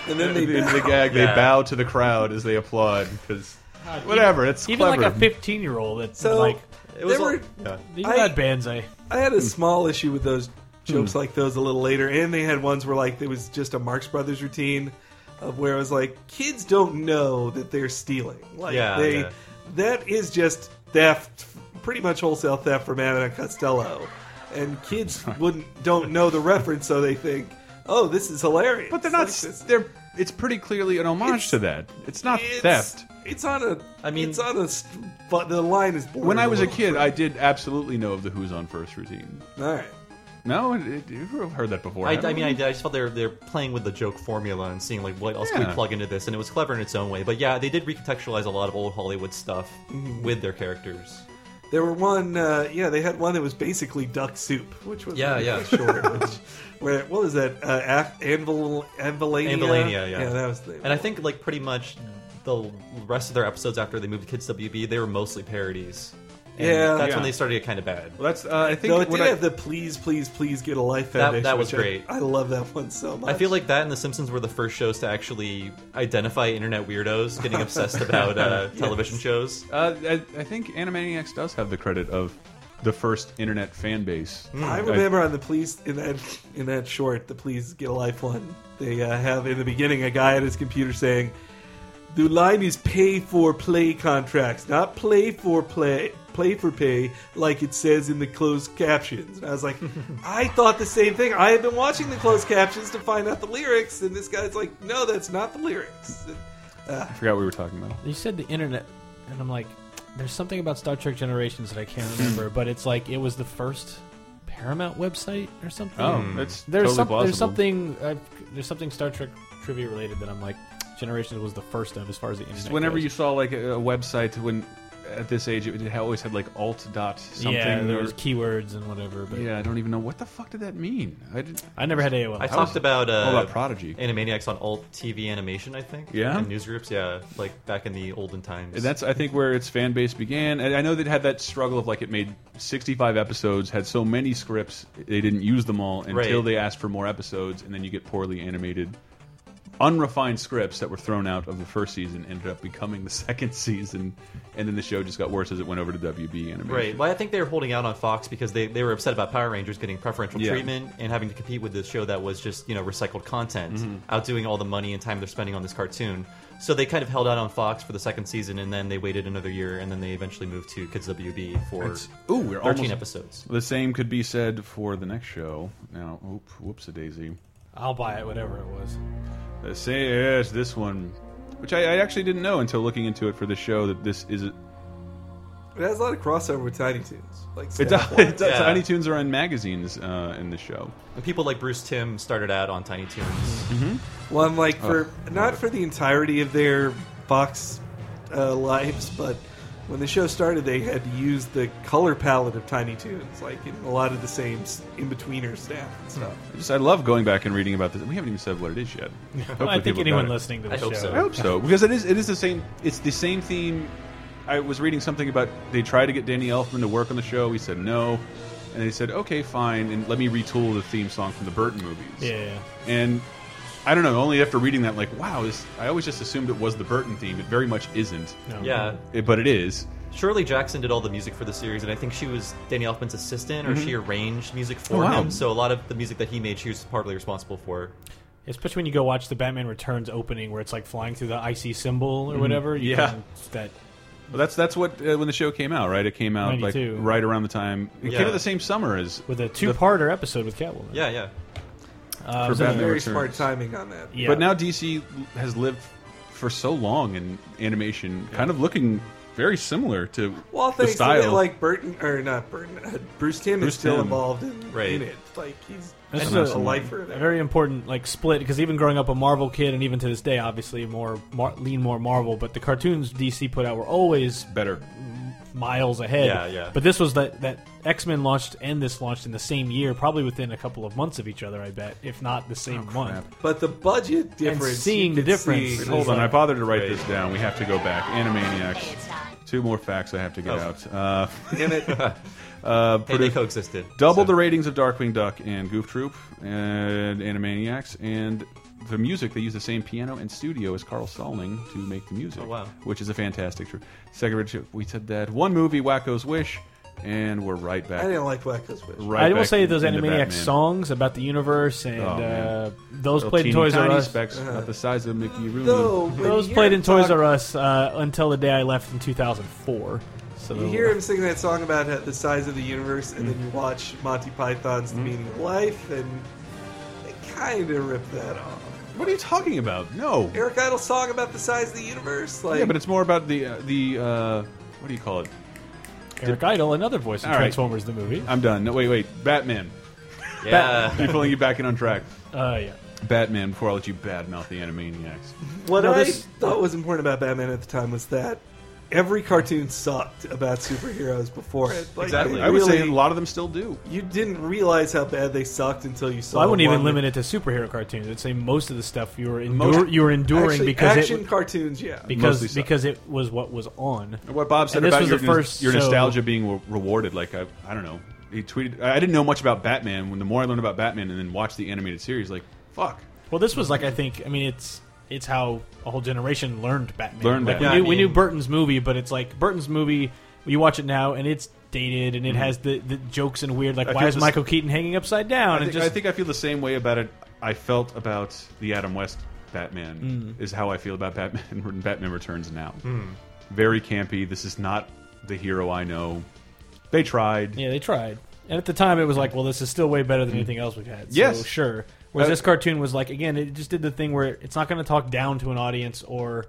And
then they
the,
bow.
the gag they
Yeah.
bow to the crowd as they applaud because whatever it's
even
clever.
like a fifteen-year-old. That's
So,
like
it was there all- were- yeah.
you
I-
got bands. I
I had
Hmm.
a small issue with those jokes like those a little later, and they had ones where like it was just a Marx Brothers routine of where it was like kids don't know that they're stealing. Like
Yeah,
they
yeah.
that is just theft, pretty much wholesale theft from Anna Costello, and kids wouldn't don't know the reference, so they think, oh, this is hilarious. But they're
not s- they're it's pretty clearly an homage to that. It's not theft.
It's on a. I mean, it's on a. st- But the line is.
When I was a
little
kid, I did absolutely know of the Who's on First routine.
All right.
No, it- it- you've heard that before.
I, I
haven't
mean,
you?
I, I just felt they're they're playing with the joke formula and seeing like what else can
Yeah.
we plug into this, and it was clever in its own way. But yeah, they did recontextualize a lot of old Hollywood stuff
Mhm.
with their characters.
There were one, uh, yeah, they had one that was basically duck soup, which was
Yeah,
really
yeah.
short. Which, where what was that? Uh, Af- Anvil, Anvilania.
Anvilania, yeah,
yeah, that was the.
And I think like pretty much the rest of their episodes after they moved to Kids WB, they were mostly parodies. And
Yeah.
that's
Yeah.
when they started to get kind of bad.
Well, that's uh, I think
Though it
when
did
I-
have the please, please, please get a life
That-
foundation.
that was
which I-
great.
I, love that one so much.
I feel like that and The Simpsons were the first shows to actually identify internet weirdos getting obsessed about uh,
Yes.
television shows.
Uh, I, I think Animaniacs does have the credit of the first internet fan base.
Hmm.
I remember on the police in that in that short, the please get a life one. They uh, have in the beginning a guy at his computer saying, "The line is pay for play contracts, not play for play." Play for pay, like it says in the closed captions. And I was like, I thought the same thing. I had been watching the closed captions to find out the lyrics, and this guy's like, No, that's not the lyrics.
I forgot what we were talking about.
You said the internet, and I'm like, there's something about Star Trek Generations that I can't remember, but it's like it was the first Paramount website or something.
Oh, Hmm. that's
there's
totally
some-
plausible.
There's something i there's something Star Trek trivia related that I'm like, Generations was the first of as far as the internet.
Just whenever
goes.
you saw like a, a website when at this age it, it always had like alt dot something.
yeah, there
or-
was keywords and whatever. But
yeah, I don't even know what the fuck did that mean. I didn't.
I never had AOL.
I talked about uh,
all about Prodigy.
Animaniacs on alt TV animation, I think.
Yeah?
and newsgroups, yeah, like back in the olden times.
And that's I think where its fan base began. And I know they had that struggle of like it made 65 episodes, had so many scripts they didn't use them all until
Right.
they asked for more episodes, and then you get poorly animated, unrefined scripts that were thrown out of the first season ended up becoming the second season, and then the show just got worse as it went over to WB animation.
Right. Well, I think they were holding out on Fox because they, they were upset about Power Rangers getting preferential
Yeah.
treatment and having to compete with this show that was just, you know, recycled content,
Mhm.
outdoing all the money and time they're spending on this cartoon. So they kind of held out on Fox for the second season and then they waited another year and then they eventually moved to Kids WB for
It's- ooh, we're
13
almost-
episodes.
The same could be said for the next show. Now, oop, whoops a daisy.
I'll buy it, whatever it was.
Uh, say yes, this one, which I, I actually didn't know until looking into it for the show that this is.
It has a lot of crossover with Tiny Toons. Like
It does, it does.
Yeah.
uh, Tiny Toons are in magazines uh, in the show.
And people like Bruce Tim started out on Tiny Toons.
Mm-hmm.
Well, I'm like
Oh,
for not for the entirety of their Fox uh, lives, but when the show started, they had to use the color palette of Tiny Toons, like in a lot of the same s- in-betweener staff and stuff.
Hmm.
I just I love going back and reading about this. We haven't even said what it is yet.
I
Hopefully
think
people
anyone
got it.
listening to the I hope show- so.
I hope so because it is it is the same. It's the same theme I was reading something about they tried to get Danny Elfman to work on the show. He said no, and they said okay, fine, and let me retool the theme song from the Burton movies.
Yeah.
And I don't know. Only after reading that, like, wow, this, I always just assumed it was the Burton theme. It very much isn't.
No. Yeah.
It- but it is.
Shirley Jackson did all the music for the series, and I think she was Danny Elfman's assistant, or
Mhm.
she arranged music for
Oh, wow.
him. So a lot of the music that he made, she was partly responsible for.
Especially when you go watch the Batman Returns opening, where it's like flying through the icy symbol or whatever. You
Yeah.
can- that
Well, that's that's what uh, when the show came out, right? It came out like
92.
right around the time. It came
Yeah.
out the same summer as
with a two-parter episode with Catwoman.
Yeah, yeah.
Uh,
for
so-
Batman
Very
Returns.
smart timing on that.
But now DC has lived for so long in animation, kind of looking very similar to
Well,
the
thanks.
style.
Style. Like Burton, or not Burton, uh, Bruce Tim
Bruce
is still
Timm.
involved in,
Right.
in it. Like he's
This is
a, a lifer.
a very important like split because even growing up a Marvel kid and even to this day, obviously more mar- lean more Marvel, but the cartoons DC put out were always
better,
miles ahead.
Yeah, yeah.
But this was that that X Men launched and this launched in the same year, probably within a couple of months of each other. I bet, if not the same month.
But the budget difference. you
seeing the
could
difference
see-
Hold on, I bothered to write this down. We have to go back. Animaniacs. Two more facts I have to get
Oh.
out. Uh,
Damn it.
uh,
Hey, they coexisted,
Double the ratings of Darkwing Duck and Goof Troop and Animaniacs. And the music, they use the same piano and studio as Carl Stalling to make the music.
Oh, wow.
Which is a fantastic truth. Second, Richard, we said that one movie, Wacko's Wish, and we're right back.
I didn't like Wacko's Wish.
Right
I will
back
say those
into
Animaniacs
Batman.
songs about the universe and
Oh,
uh,
man.
those
Little
played in
teeny
Toys R
tiny
Us.
Specks, about the size of Mickey Rooney.
Though, when
Those
you
played
hear
in
him
Toys
talk-
R Us uh, until the day I left in 2004. So
You hear him sing that song about uh, the size of the universe, and
Mm-hmm.
then you watch Monty Python's The Meaning of Life, and they kind of rip that off.
What are you talking about? No.
Eric Idle's song about the size of the universe, like
yeah, but it's more about the uh, the uh, what do you call it?
Eric Idle, another voice in
All right.
Transformers the movie.
I'm done. No, wait, wait. Batman.
Yeah.
Bat- I'm pulling you back in on track.
Uh, yeah.
Batman. Before I let you badmouth the Animaniacs.
what
No,
I
this-
thought was important about Batman at the time was that every cartoon sucked about superheroes before it. Like,
exactly.
they
I would say a
really-
lot of them still do.
you didn't realize how bad they sucked until you saw.
Well, I wouldn't even
one
limit it to superhero cartoons. I'd say most of the stuff you were
Most-
endure, you were enduring
Actually,
because
action
it,
cartoons, yeah.
because
Mostly so.
because it was what was on.
What Bob said
and this
about
was
your,
the first
your
show-
nostalgia being re- rewarded. Like I, I don't know. He tweeted. I didn't know much about Batman. When the more I learned about Batman, and then watched the animated series, like fuck.
Well, this was like I think I mean it's it's how a whole generation learned Batman.
Learned
like,
Batman.
We knew,
Yeah,
we
I
knew
mean-
Burton's movie, but it's like Burton's movie. You watch it now, and it's dated, and it has the, the jokes and weird. Like,
Mm-hmm. I
why
feel
is
this-
Michael Keaton hanging upside down?
I think,
and just
I think I feel the same way about it. I felt about the Adam West Batman is how I feel about Batman when Batman Returns now.
Mm.
Very campy. This is not the hero I know. They tried.
Yeah, they tried. And at the time, it was like, well, this is still way better than anything else we've had. So,
Mm. Yes.
sure. Whereas
Uh,
this cartoon was like, again, it just did the thing where it's not going to talk down to an audience or.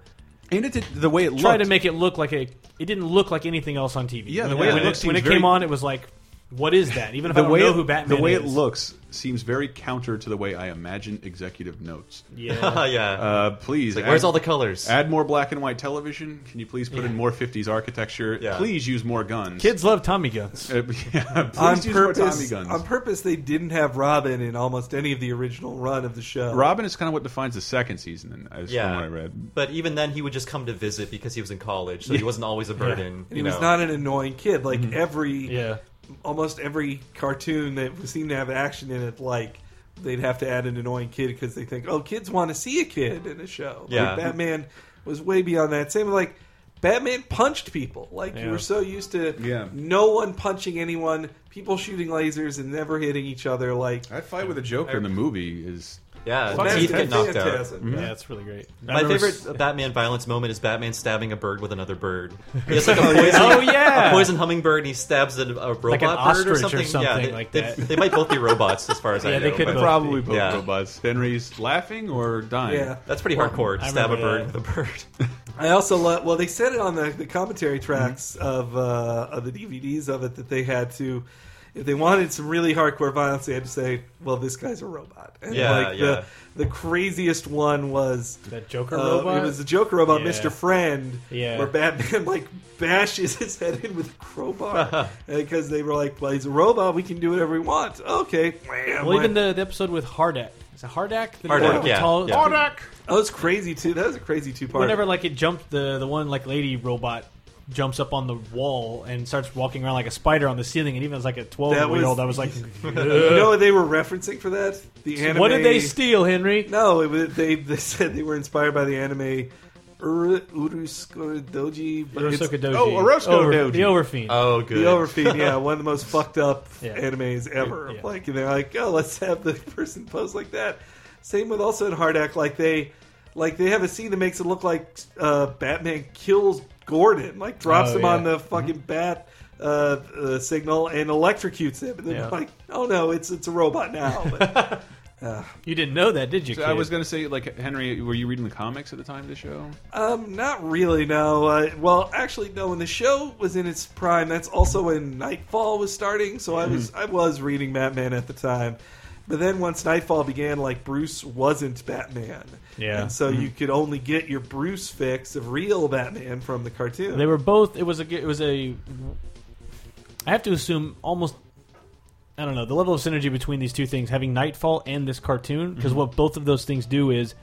And it did the way it
try
looked.
to make it look like a. It didn't look like anything else on TV.
Yeah,
When
the way it
when
looked
when
seems
it came
very-
on, it was like, what is that? Even if I
the
don't
way
know
it,
who Batman
the way
is.
it looks seems very counter to the way I imagine executive notes.
Yeah.
Yeah.
Uh, please,
It's like, where's all the colors?
Add more black and white television. Can you please put in
Yeah.
more '50s architecture?
Yeah.
Please use more guns.
Kids love Tommy guns.
Uh, yeah, please
on
use more Tommy
purpose,
guns.
on purpose, they didn't have Robin in almost any of the original run of the show.
Robin is kind of what defines the second season, and as from what I read.
But even then, he would just come to visit because he was in college, so he
Yeah.
wasn't always a
Yeah.
burden.
And
you
he was
know. Mm-hmm.
not an annoying kid. Like every,
yeah,
almost every cartoon that seemed to have action in it, like they'd have to add an annoying kid because they think, oh, kids want to see a kid in a show.
Yeah.
like, Batman was way beyond that. Same with, like. Batman punched people. Like you
Yeah.
were so used to
Yeah.
no one punching anyone, people shooting lasers and never hitting each other. Like
That fight with the Joker in the movie is
Yeah,
Well,
teeth
that's
get knocked
fantastic.
out. Mm-hmm.
Mhm.
Yeah, it's really great. uh, I
My
remember
favorite
s-
Batman violence moment is Batman stabbing a bird with another bird. He has like a
Oh, yeah.
poison,
Oh, yeah.
a poison hummingbird, and he stabs a, a robot
an
bird or
ostrich or
something. yeah,
something
they,
like
they-
that.
They, might both be robots, as far as I
Yeah,
know.
they could
but-
both
probably
be.
both
Yeah.
robots. Henry's laughing or dying.
Yeah.
That's pretty
Well,
hardcore. to
I
Stab a
remember
bird
that.
with a bird.
I also love. Well, they said it on the, the commentary tracks of uh, of the DVDs of it that they had to, if they wanted some really hardcore violence, they had to say, "Well, this guy's a robot." And
Yeah,
like
yeah.
The, the craziest one was
That Joker
uh,
robot?
It was the Joker robot,
Yeah.
Mister Friend.
Yeah.
where Batman like bashes his head in with a crowbar because they were like, "Well, he's a robot. We can do whatever we want." Okay.
Well, even the, the episode with Hardak. Is it Hardak? The
Hardak,
the
yeah,
tall-
yeah.
That was crazy too. That was a crazy two part.
Whenever like it jumped the the one like lady robot jumps up on the wall and starts walking around like a spider on the ceiling. And even as like a twelve-year-old, I was like,
you know what they were referencing for that? The
So
anime.
what did they steal, Henry?
No, it was, they they said they were inspired by the anime. Ur- Urusuka Doji, but it's-
Urusuka Doji.
Oh, Orozco
Over-
Doji,
The Overfiend. Oh, good.
The Overfiend, yeah, one of the most fucked up
Yeah.
animes ever. Like, and they're like, oh, let's have the person pose like that. Same with also in Hardak, like they, like they have a scene that makes it look like uh, Batman kills Gordon, like drops
Oh,
him
yeah.
on the fucking bat uh, uh, signal and electrocutes him, and then
Yeah.
like, oh no, it's it's a robot now. But, uh,
You didn't know that, did you?
So I was going to say, like Henry, were you reading the comics at the time of the show?
Um, not really. No. Uh, well, actually, no. When the show was in its prime, that's also when Nightfall was starting. So I
Hmm.
was I was reading Batman at the time, but then once Nightfall began, like Bruce wasn't Batman.
Yeah.
And so
Mhm.
you
Hmm.
could only get your Bruce fix of real Batman from the cartoon.
They were both. It was a. It was a. I have to assume almost. I don't know the level of synergy between these two things, having Nightfall and this cartoon, because
Mhm.
what both of those things do is,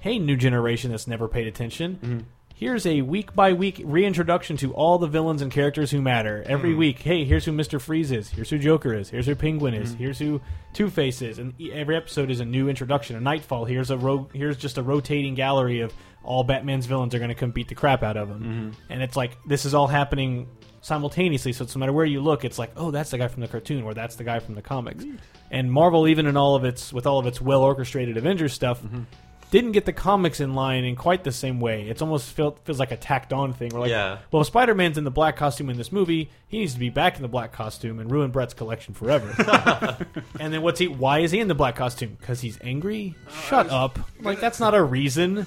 hey, new generation that's never paid attention. Here's a week by week reintroduction to all the villains and characters who matter every
Mhm.
week. Hey, here's who Mister Freeze is. Here's who Joker is. Here's who Penguin is. Here's who Two Face is. And e- every episode is a new introduction. A Nightfall. Here's a ro- here's just a rotating gallery of all Batman's villains are going to come beat the crap out of him and it's like this is all happening simultaneously so it's no matter where you look it's like oh that's the guy from the cartoon or that's the guy from the comics and marvel even in all of its with all of its well orchestrated avengers stuff
Mm-hmm.
didn't get the comics in line in quite the same way it's almost felt feels like a tacked on thing We're like
Yeah.
well if spider-man's in the black costume in this movie he needs to be back in the black costume and ruin brett's collection forever and then what's he why is he in the black costume because he's angry
Uh,
shut up like that's not a reason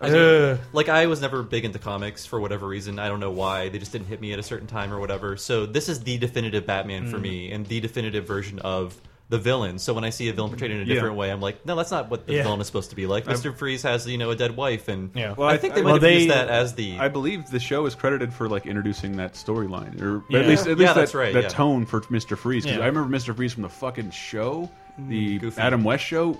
I mean, like I was never big into comics for whatever reason. I don't know why. They just didn't hit me at a certain time or whatever. So this is the definitive Batman for
Mm.
me and the definitive version of the villain. So when I see a villain portrayed in a
Yeah.
different way, I'm like, no, that's not what the
Yeah.
villain is supposed to be like.
I'm-
Mister Freeze has you know a dead wife, and
Yeah.
I think they might have used that as the
I believe the show is credited for like introducing that storyline, or
Yeah.
at least at least
Yeah,
that,
that's right,
that
yeah.
tone for Mister Freeze. Because
Yeah.
I remember Mister Freeze from the fucking show, the
Mm, Goofy.
Adam West show.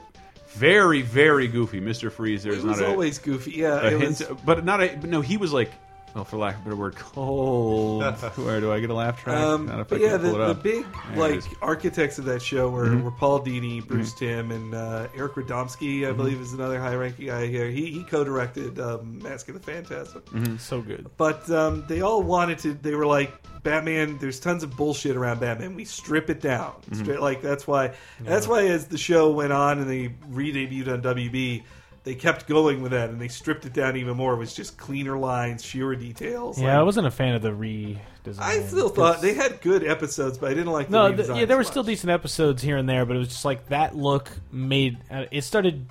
Very, very goofy, Mister Freeze. There's
He was
not a,
always goofy, yeah,
a
it
hint-
was-
but not a. But no, he was like, well, for lack of a better word, cold. Where do I get a laugh track? Not
Um,
if I
but
can
yeah, the,
pull it
the
up.
big
There it
like
is.
architects of that show were,
Mhm.
were Paul Dini, Bruce
Mm-hmm.
Tim, and uh, Eric Radomski. I
Mhm.
believe is another high-ranking guy here. He he co-directed um, Mask of the Phantasm.
Mhm.
So good.
But um, they all wanted to. They were like, Batman. There's tons of bullshit around Batman. We strip it down.
Mhm.
Strip- like that's why. That's why as the show went on and they re-debuted on WB, they kept going with that and they stripped it down even more. It was just cleaner lines, fewer details.
yeah i wasn't a fan of the redesign
I still thought they had good episodes, but I didn't like the
no,
no,
th- yeah, there were still decent episodes here and there, but it was just like that look made uh, it started.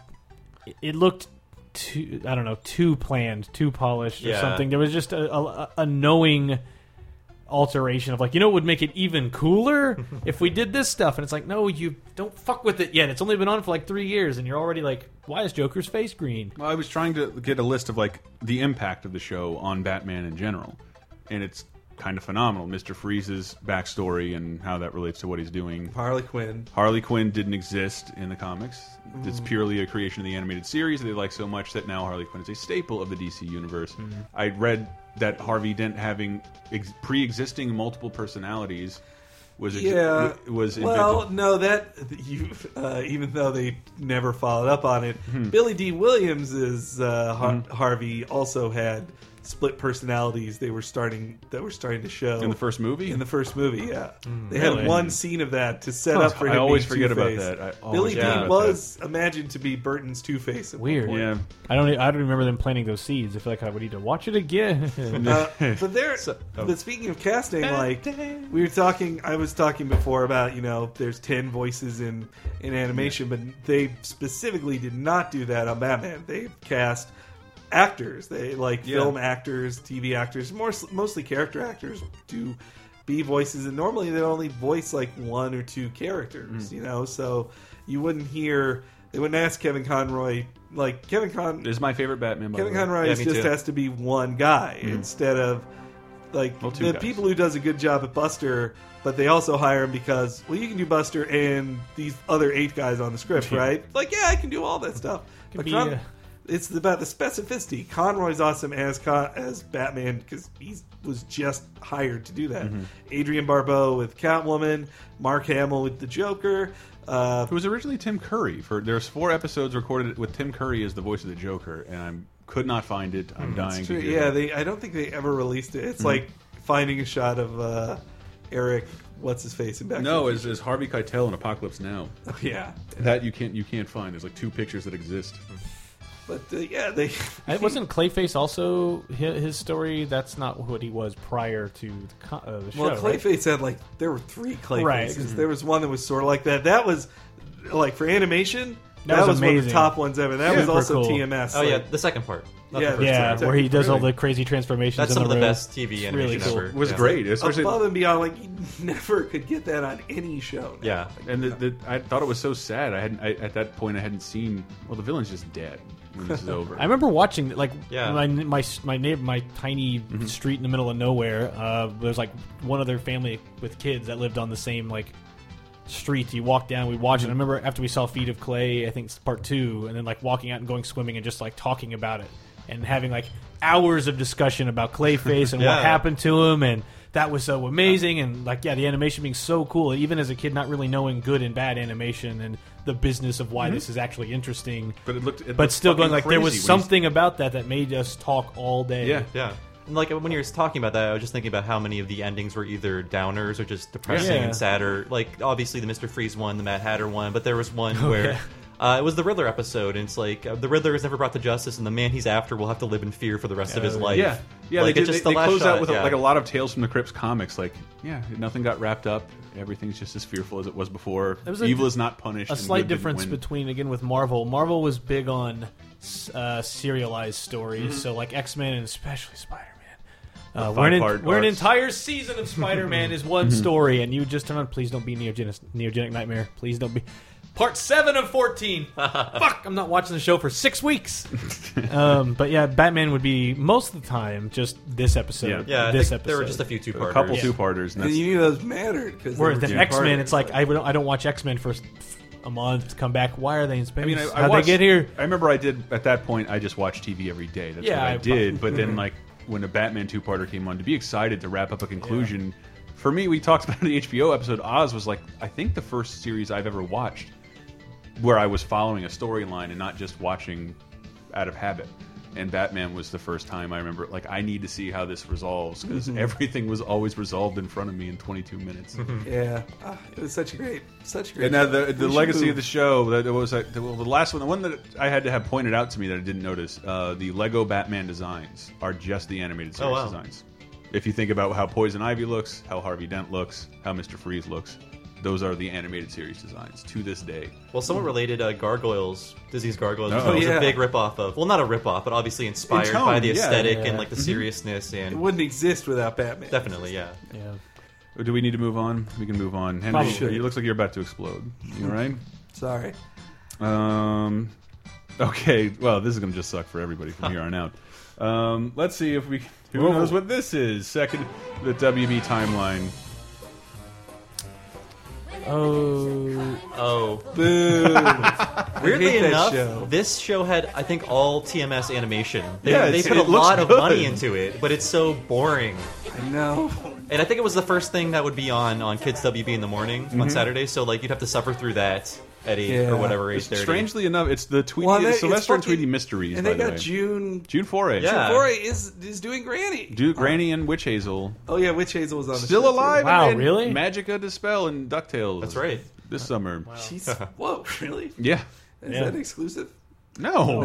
it- It looked too, I don't know, too planned, too polished, or
Yeah.
something. There was just a, a, a knowing alteration of like, you know, what would make it even cooler if we did this stuff. And it's like, no, you don't fuck with it yet. It's only been on for like three years, and you're already like, why is Joker's face green?
Well, I was trying to get a list of like the impact of the show on Batman in general, and it's kind of phenomenal. Mister Freeze's backstory and how that relates to what he's doing.
Harley Quinn.
Harley Quinn didn't exist in the comics. It's
Mm.
purely a creation of the animated series that they like so much that now Harley Quinn is a staple of the DC universe.
Mm-hmm.
I read that Harvey Dent having ex pre-existing multiple personalities was ex-
Yeah,
was
well,
invented.
no, that you uh, even though they never followed up on it,
Hmm.
Billy D. Williams's uh, Har-
Mhm.
Harvey also had split personalities. They were starting that were starting to show
In the first movie?
In the first movie, yeah,
Mm.
they
Really?
had one scene of that to set
Huh.
up for.
I
him
always
being
forget about
Two-Face.
that. I always
Billy
forget
D.
about
was imagined to be Burton's Two Face.
Weird.
Yeah.
I don't. I don't remember them planting those seeds. I feel like I would need to watch it again.
Uh, but there,
oh.
but speaking of casting, like we were talking, I was talking before about you know there's ten voices in in animation, but they specifically did not do that on Batman. They cast actors, they like
Yeah.
film actors, TV actors, more mostly character actors do be voices, and normally they only voice like one or two characters,
Mm.
you know, so you wouldn't hear. They wouldn't ask Kevin Conroy like Kevin Con.
This is my favorite Batman. by the
Kevin
way.
Conroy
Yeah, me
just
too.
has to be one guy
Mm.
instead of like
Well, two
the
guys.
people who does a good job at Buster, but they also hire him because well, you can do Buster and these other eight guys on the script,
Yeah.
right? Like, yeah, I can do all that stuff.
Can
But
be,
Con-
uh,
it's about the specificity. Conroy's awesome as Con- as Batman because he was just hired to do that.
Mhm.
Adrian Barbeau with Catwoman, Mark Hamill with the Joker. Uh,
it was originally Tim Curry. For there's four episodes recorded with Tim Curry as the voice of the Joker, and I could not find it. I'm dying.
It's Hmm,
To
true.
hear
yeah,
that.
they. I don't think they ever released it. It's
Mhm.
like finding a shot of uh, Eric. What's his face in Back? to
no,
the
is, is Harvey Keitel in Apocalypse Now?
Oh, yeah.
that you can't you can't find. There's like two pictures that exist.
But uh, yeah, they.
And wasn't Clayface also his, his story? That's not what he was prior to the, co- uh, the show.
Well,
right?
Clayface had like there were three Clayfaces.
Right. mm-hmm.
There was one that was sort of like that. That was like for animation. That,
That
was,
was
one of the
amazing.
top ones ever. That was
Super
also
cool.
TMS.
Oh,
like-
yeah, the second part. Not
Yeah,
the first
yeah,
one.
where he does all the crazy transformations.
That's
in
some of the
room.
best TV
It's
animation
really cool.
ever.
was
Yeah.
great, especially
above and beyond. Like you never could get that on any show. now.
Yeah, and the, the, I thought it was so sad. I hadn't I, at that point. I hadn't seen. Well, the villain's just dead when this is over.
I remember watching like
Yeah.
my my my neighbor, my tiny street in the middle of nowhere. Uh, there was like one other family with kids that lived on the same like street. You walk down, we watched it. I remember after we saw Feet of Clay, I think it's part two, and then like walking out and going swimming and just like talking about it and having like hours of discussion about Clayface and
Yeah.
what happened to him and. That was so amazing, and like, yeah, the animation being so cool. Even as a kid, not really knowing good and bad animation and the business of why
Mhm.
this is actually interesting.
But it looked, it
but
looked
still going
fucking
like there
crazy
was
when he's-
something about that that made us talk all day.
Yeah, yeah. And like when you were talking about that, I was just thinking about how many of the endings were either downers or just depressing
Yeah.
and sadder. Like obviously the Mister Freeze one, the Mad Hatter one, but there was one
Oh,
where
yeah.
uh, it was the Riddler episode, and it's like uh, the Riddler is never brought to justice, and the man he's after will have to live in fear for the rest of his life.
Yeah, yeah.
Like,
they
it's
did,
just the
they, they
last
closed
shot,
out with
yeah.
a, like a lot of Tales from the Crypts comics. Like, yeah, nothing got wrapped up. Everything's just as fearful as it was before.
There was a-
Evil is not punished.
A
and
slight
good didn't
difference
win.
between again with Marvel. Marvel was big on uh, serialized stories,
Mhm.
so like X Men and especially Spider
The
Man. Uh, we're an,
five-part
we're an
arcs.
entire season of Spider Man is one
Mhm.
story, and you just turn on. Please don't be neogenic, neogenic nightmare. Please don't be. Part seven of fourteen. Fuck, I'm not watching the show for six weeks. um, but yeah, Batman would be most of the time just this episode.
Yeah. Yeah, I
this
think
episode.
there were just a few two-parters.
A couple two-parters, and
And you knew those mattered because
Whereas then X Men, it's like I don't I don't watch X Men for a month to come back. Why are they in space?
I mean, I, I
How'd
watched-
they get here?
I remember I did at that point. I just watched TV every day. That's
Yeah,
what I,
I
did.
probably-
But then,
Mhm.
like when the Batman two-parter came on, to be excited to wrap up a conclusion. For me, we talked about the HBO episode. Oz was like, I think the first series I've ever watched where I was following a storyline and not just watching out of habit. And Batman was the first time I remember. Like, I need to see how this resolves because
Mm-hmm.
Mhm.
everything was always resolved in front of me in 22 minutes.
yeah, Ah, it was such a great, such a great.
And now the, the
We should
legacy
move.
of the show that it was like, the, well, the last one, the one that I had to have pointed out to me that I didn't notice, uh, the Lego Batman designs are just the animated series
Oh, wow.
designs. If you think about how Poison Ivy looks, how Harvey Dent looks, how Mister Freeze looks, those are the animated series designs to this day.
Well, somewhat related, uh, Gargoyles, Disney's Gargoyles,
Oh,
oh, was
yeah.
a big ripoff of. Well, not a ripoff, but obviously inspired
In tone,
by the
yeah.
aesthetic
Yeah.
and like the
Mm-hmm.
Mhm.
seriousness
It
and
wouldn't exist without Batman.
definitely, yeah.
Yeah.
Do we need to move on? We can move on. Henry,
Probably.
it looks like you're about to explode. You all right?
Sorry.
Um, okay. Well, this is gonna just suck for everybody from here on out. Um, let's see if we. Who
Whoa.
knows what this is? Second, the WB timeline.
Oh.
Oh.
Boo.
Weirdly
hate that
enough,
show.
this show had, I think, all TMS animation. They,
Yeah,
they
it's-
put a
it looks
lot of
good.
money into it, but it's so boring.
I know.
And I think it was the first thing that would be on on Kids WB in the morning
Mm-hmm.
on
Mhm.
Saturday, so like you'd have to suffer through that at eight
Yeah.
or whatever age
It's
they're.
Strangely enough, it's the Tweety
Well, they-
it's
it's
Sylvester and
fucking-
Tweety mysteries.
and they
by the
got
way.
June
June foray.
Yeah. Foray is is doing Granny.
Dude, Granny and Witch Hazel
Oh yeah, Witch Hazel was on the
still
show, too.
alive. and Magica Dispel and Ducktales. That's right. This summer.
She's whoa, really?
Yeah.
Is
Yeah.
that exclusive?
No,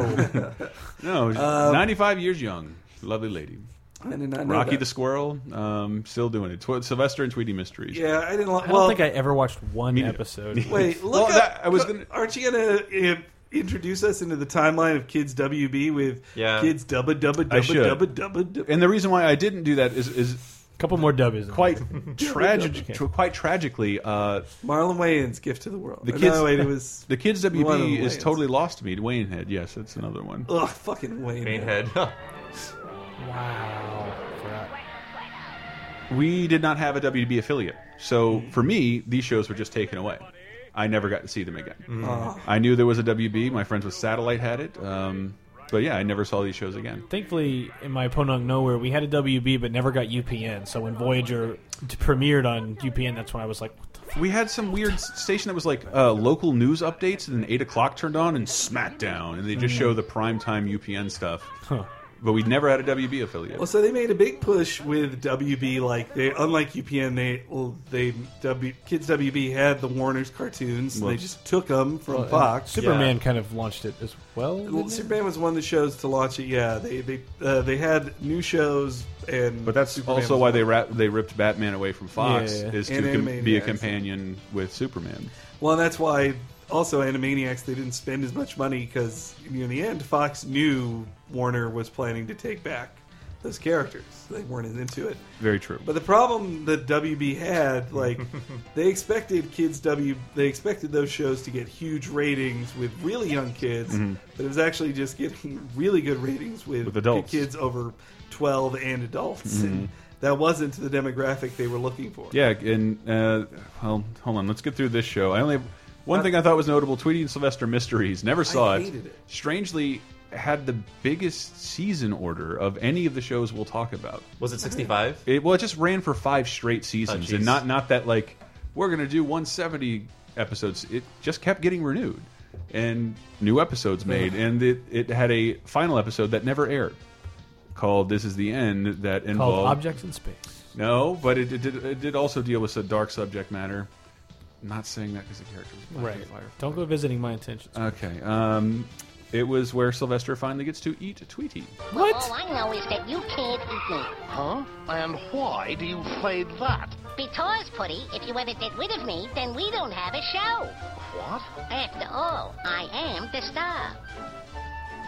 no, she's
Oh. Um,
95 years young, lovely lady.
I did not know
Rocky
that.
the Squirrel, um, still doing it. Tw Sylvester and Tweety Mysteries.
Yeah, I didn't. Li-
I don't
well,
think I ever watched one episode.
Wait, look.
Well,
up,
that- I was
go- Aren't you gonna uh, introduce us into the timeline of Kids WB with
Yeah.
Kids Dubba Dubba
I
Dubba
should.
Dubba Dubba? Dubba?
And the reason why I didn't do that is is a
couple more dubbies.
Quite tragic. tra- Quite tragically, uh,
Marlon Wayans' Gift to the World.
the
Or
kids.
No, wait, it was
the kids
one of
WB
the
is
Wayans.
totally lost to me. Wayne Head. Yes, that's another one.
Ugh, fucking Wayne.
Head.
wow.
We did not have a WB affiliate, so
Mm-hmm.
for me, these shows were just taken away. I never got to see them again.
Aw.
I knew there was a WB. My friends with Satellite had it. Um, But yeah, I never saw these shows again.
Thankfully, in my Ponung Nowhere, we had a WB but never got UPN. So when Voyager t- premiered on UPN, that's when I was like,
We had some weird s- station that was like uh, local news updates, and then eight o'clock turned on and SmackDown, and they just
Mm.
show the primetime UPN stuff.
Huh.
But we never had a WB affiliate.
Well, so they made a big push with WB. Like they, unlike UPN, they well, they w, kids WB had the Warner's cartoons. and
Well,
they just took them from
Well, and
Fox.
Superman kind of launched it as well.
Yeah. Well,
didn't it?
Superman was one of the shows to launch it. Yeah, they they uh, they had new shows and.
But that's
Superman
also
was
why
one.
they ra they ripped Batman away from Fox
Yeah.
is to
And
com- be a
Animaniacs.
companion with Superman.
Well, that's why also Animaniacs they didn't spend as much money because in the end Fox knew Warner was planning to take back those characters. They weren't as into it.
Very true.
But the problem that WB had, like, they expected kids W, they expected those shows to get huge ratings with really young kids,
Mhm.
but it was actually just getting really good ratings with,
With adults.
kids over twelve and adults,
Mhm.
and that wasn't the demographic they were looking for.
Yeah, and uh, well, hold on. Let's get through this show. I only have one thing I thought was notable: Tweety and Sylvester Mysteries. Never saw
Uh, I
it.
hated it.
Strangely, had the biggest season order of any of the shows we'll talk about.
Was it 65?
It, well, it just ran for five straight
Oh,
seasons,
jeez.
and not not that like we're gonna do 170 episodes. It just kept getting renewed, and new episodes made,
Ugh.
and it it had a final episode that never aired, called "This Is the End," that
called
involved
Objects in Space.
no, but it, it did it did also deal with a dark subject matter. I'm not saying that because the character was black
Right.
and fire.
Don't go visiting my intentions.
Okay. Um, it was where Sylvester finally gets to eat Tweety.
What? all I know is that you can't eat me.
Huh?
And why do you say that?
Because, Putty, if you ever get rid of me, then we don't have a show.
What?
After all, I am the star.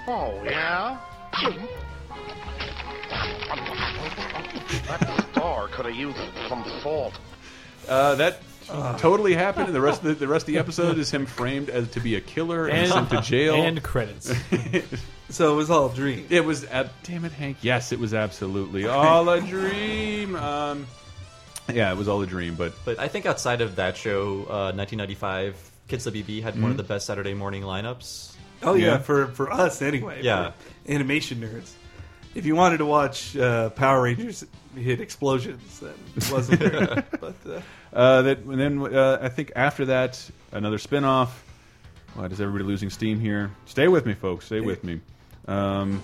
Oh, yeah? that star could have used some salt.
Uh, that totally happened, and the rest of the, the rest of the episode is him framed as to be a killer and, sent to jail.
credits.
so it was all a dream.
It was. ab- damn it, Hank. Yes, it was absolutely all a dream. Um, yeah, it was all a dream, but
But I think outside of that show, uh, 1995, Kids WB had one
Mm-hmm.
Mhm.
of the best Saturday morning lineups.
Oh yeah, for for us anyway.
Yeah.
for animation nerds. If you wanted to watch uh, Power Rangers hit explosions, then it wasn't. there. but uh,
Uh, that and then uh, I think after that another spin-off. Why is everybody losing steam here? Stay with me, folks. Stay with me. Um,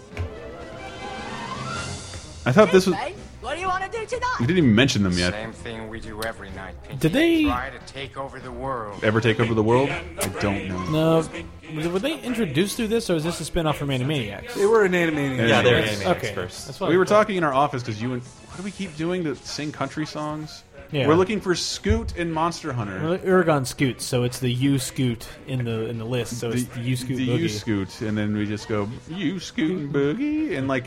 I thought this was.
what do you want to do tonight?
We didn't even mention them yet.
Same thing we do every night. Pinky.
Did they-
try to take over the world?
Ever take over the world? I don't know.
No, were they introduced through this, or is this a spin-off from Animaniacs?
They were an Animaniacs.
Yeah, they're
Animaniacs
okay.
first.
That's what
We were talking in our office because you and what do we keep doing to sing country songs?
Yeah.
We're looking for Scoot and Monster Hunter.
Well, Aragon Scoot, so it's the U Scoot in the in the list. So it's the U Scoot
the
boogie.
you scoot, and then we just go you scoot and boogie, and like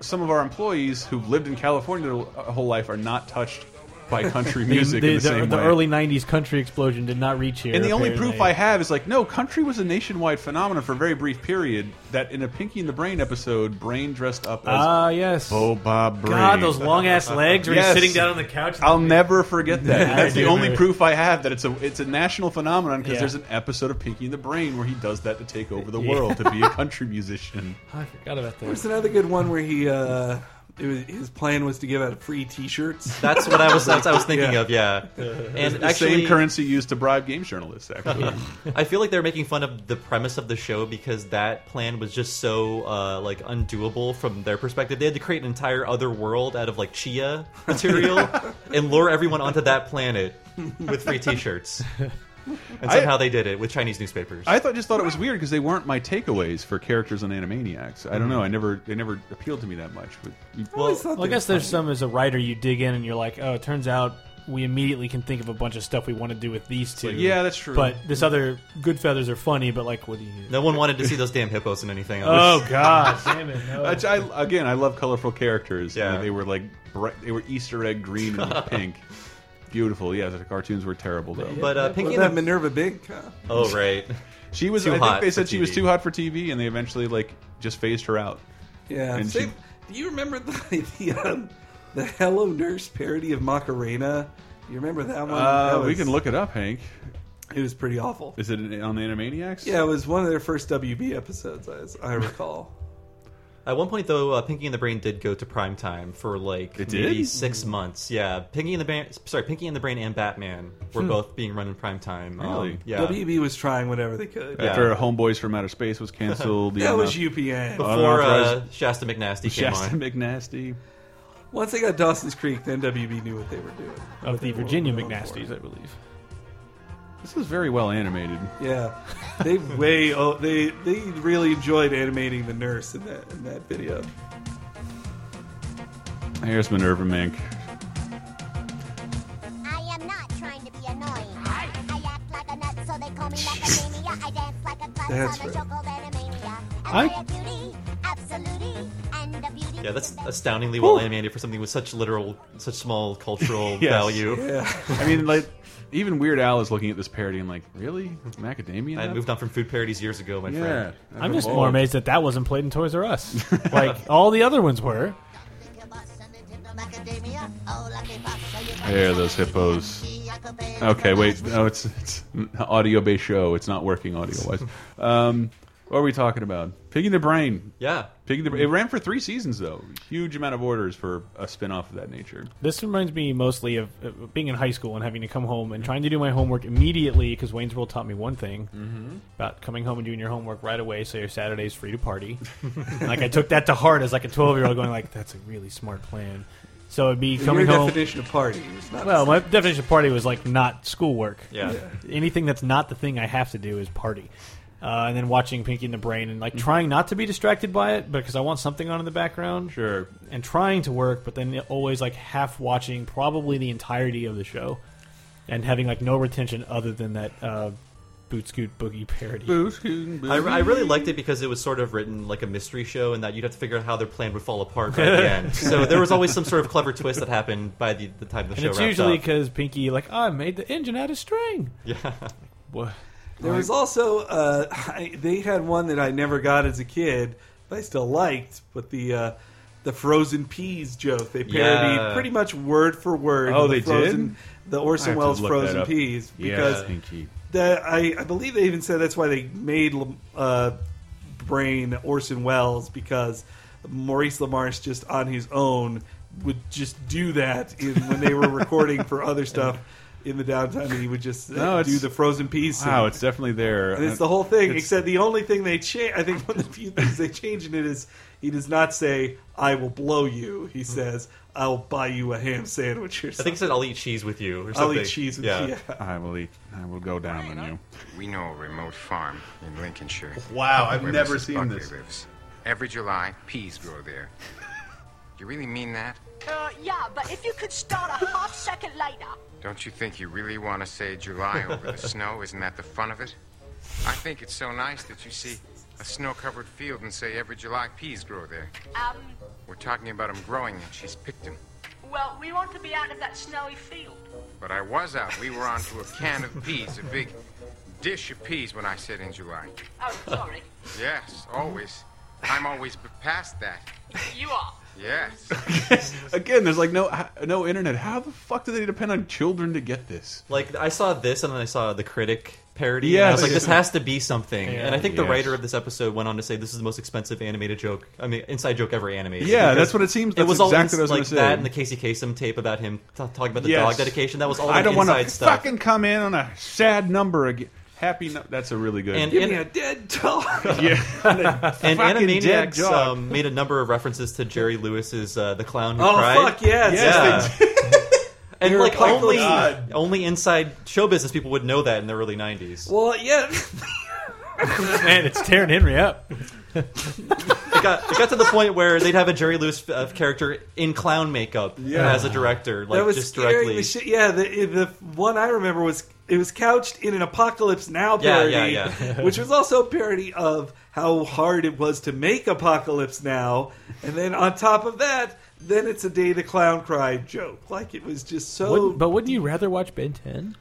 some of our employees who've lived in California their whole life are not touched by country music
the,
in the,
the-
same
the
way.
early '90s country explosion did not reach here.
and the only proof
apparently.
I have is like, no, country was a nationwide phenomenon for a very brief period. That in a Pinky and the Brain episode, Brain dressed up as
Ah, yes.
Boba Brain.
God, those long ass legs when
Yes.
he's sitting down on the couch.
I'll never forget that.
I
That's the
do
only
remember.
proof I have that it's a it's a national phenomenon because
Yeah.
there's an episode of Pinky and the Brain where he does that to take over the
Yeah.
world to be a country musician.
I forgot about that.
there's another good one where he. Uh, it was, his plan was to give out free T-shirts.
That's what I was. That's what I was thinking of. Yeah,
It's the same currency used to bribe games journalists. Actually,
I feel like they're making fun of the premise of the show because that plan was just so uh, like undoable from their perspective. They had to create an entire other world out of like chia material and lure everyone onto that planet with free T-shirts. And
I-
somehow they did it with Chinese newspapers.
I thought just thought it was weird because they weren't my takeaways for characters on Animaniacs. I don't know. I never they never appealed to me that much. But you-
Well, I guess there's some as a writer you dig in and you're like, oh, it turns out we immediately can think of a bunch of stuff we want to do with these two.
like, yeah, that's true.
But this other good feathers are funny, but like, what do you?
No one wanted to see those damn hippos in anything else.
Oh God, damn it! No.
Which I, again, I love colorful characters. Yeah, they were like bright, they were Easter egg green and pink. Beautiful. Yeah, the cartoons were terrible though.
But, uh, Pinky
What
and
about
the-
Minerva Big.
Oh right.
She was.
Too
I think
hot
they
for
said she was
TV.
too hot for TV, and they eventually like just phased her out.
Yeah.
And
Same- do you remember the the, um, the Hello Nurse parody of Macarena? You remember that one?
Uh,
That
we
was-
can look it up, Hank.
It was pretty awful.
Is it on Animaniacs?
Yeah, it was one of their first WB episodes, as I recall.
At one point, though, uh, Pinky and the Brain did go to prime time for like
It
maybe
did?
six months. Yeah, Pinky and the Brain, sorry, Pinky and the Brain and Batman were
Hmm.
both being run in prime time. Um,
Really?
yeah.
WB was trying whatever they could.
After Homeboys from Outer Space was canceled.
That was UPN.
Before uh, Shasta McNasty came
Shasta
on.
McNasty.
Once they got Dawson's Creek, then WB knew what they were doing.
Of the
They were
Virginia
going for
McNastys, I believe.
This is very well animated.
it. Yeah, they way oh, they they really enjoyed animating the nurse in that in that video.
Here's Minerva Mink.
I am not trying to be annoying. I act like a nut, so they call me Macadamia. I dance like a
That's
klutz, I'm a
right.
chocolate animania. Am
I-
I a cutie? Absolutely. And a beauty.
Yeah, that's astoundingly well animated for something with such literal, such small cultural
Yes.
value.
I mean, like, even Weird Al is looking at this parody and like, really? Macadamia?
I
nut?
moved on from food parodies years ago, my
Yeah.
friend.
I'm just more amazed that that wasn't played in Toys R Us. like all the other ones were.
There, those hippos. Okay, wait. No, it's it's audio based show. It's not working audio wise. Um, what are we talking about? Pig in the Brain.
Yeah.
Pig in the Brain. It ran for three seasons though. Huge amount of orders for a spin off of that nature.
This reminds me mostly of uh, being in high school and having to come home and trying to do my homework immediately because Wayne's World taught me one thing about coming home and doing your homework right away so your Saturday's free to party. like I took that to heart as like a 12 year old going like that's a really smart plan. So it'd be
Your
coming home.
definition of party was not
well, my definition of party was like not schoolwork.
Yeah. Yeah.
Anything that's not the thing I have to do is party. Uh, and then watching Pinky in the Brain and like trying not to be distracted by it because I want something on in the background.
Sure.
And trying to work, but then always like half watching probably the entirety of the show and having like no retention other than that uh, Boot Scoot Boogie parody.
I, I really liked it because it was sort of written like a mystery show, and that you'd have to figure out how their plan would fall apart by the end. So there was always some sort of clever twist that happened by the, the time the
And
show
it's
wrapped
usually
up.
because Pinky like I made the engine out of string.
Yeah.
What?
There was also uh, I, they had one that I never got as a kid, but I still liked. But the uh, the frozen peas joke they parodied
Yeah.
pretty much word for word.
Oh,
the
they
frozen,
did?
the
I
Orson
have to
Welles
look that
frozen
up.
peas
Yeah,
because
Pinky.
that I, I believe they even said that's why they made uh, Brain Orson Welles because Maurice LaMarche just on his own would just do that in, when they were recording for other stuff. In the downtime, and he would just uh,
No,
do
it's-
the frozen peas. scene.
Wow, it's definitely there.
And it's the whole thing,
It's-
except the only thing they change. I think one of the few things they change in it is he does not say "I will blow you."
Hmm.
He says "I'll buy you a ham sandwich." Or
I think
something.
it said I'll eat cheese with you. Or
I'll
something.
eat cheese with
yeah.
you.
I will eat. I will go down on you.
We know a remote farm in Lincolnshire.
Wow, I've
where
never
Mrs.
seen
Buckley
this.
Lives. Every July, peas grow there. You really mean that?
Uh, yeah, but if you could start a half second later.
Don't you think you really want to say July over the snow? Isn't that the fun of it? I think it's so nice that you see a snow-covered field and say every July peas grow there.
Um,
We're talking about 'em growing and she's picked 'em.
well, we want to be out of that snowy field.
But I was out. We were onto a can of peas, a big dish of peas when I said in July.
Oh, sorry.
Yes, always. I'm always b- past that.
you are.
Yes.
Again, there's like no no internet. How the fuck do they depend on children to get this?
Like I saw this, and then I saw the critic parody. and I
Yes.
was like, this has to be something.
Yeah.
And I think the
Yes.
writer of this episode went on to say this is the most expensive animated joke. I mean, inside joke ever animated.
Yeah,
Because
that's what it seems-
it
that's
was all
exactly
ins-
what I was
like
gonna say.
that, and the Casey Kasem tape about him t- talking about the
Yes.
dog dedication. That was all.
I
like,
don't
inside
want to
stuff.
fucking come in on a sad number again. Happy. No That's a really good.
And- Give and- me a
dead dog.
yeah.
And
Fucking dead
Animaniacs
dog.
um, made a number of references to Jerry Lewis's uh, "The Clown Who
Oh,
Cried."
fuck, yes. Yes,
Yeah. and
You're
like
a
only
god.
only inside show business people would know that in the early '90s.
Well, yeah.
Man, it's tearing Henry up.
It got, it got to the point where they'd have a Jerry Lewis uh, character in clown makeup
Yeah.
as a director, like
that was
just
scaring
directly.
the shit. Yeah, the, the one I remember was it was couched in an Apocalypse Now
Yeah,
parody,
yeah, yeah.
which was also a parody of how hard it was to make Apocalypse Now, and then on top of that, then it's a Day the Clown Cried joke. Like it was just so.
Wouldn't- but wouldn't you rather watch Ben 10?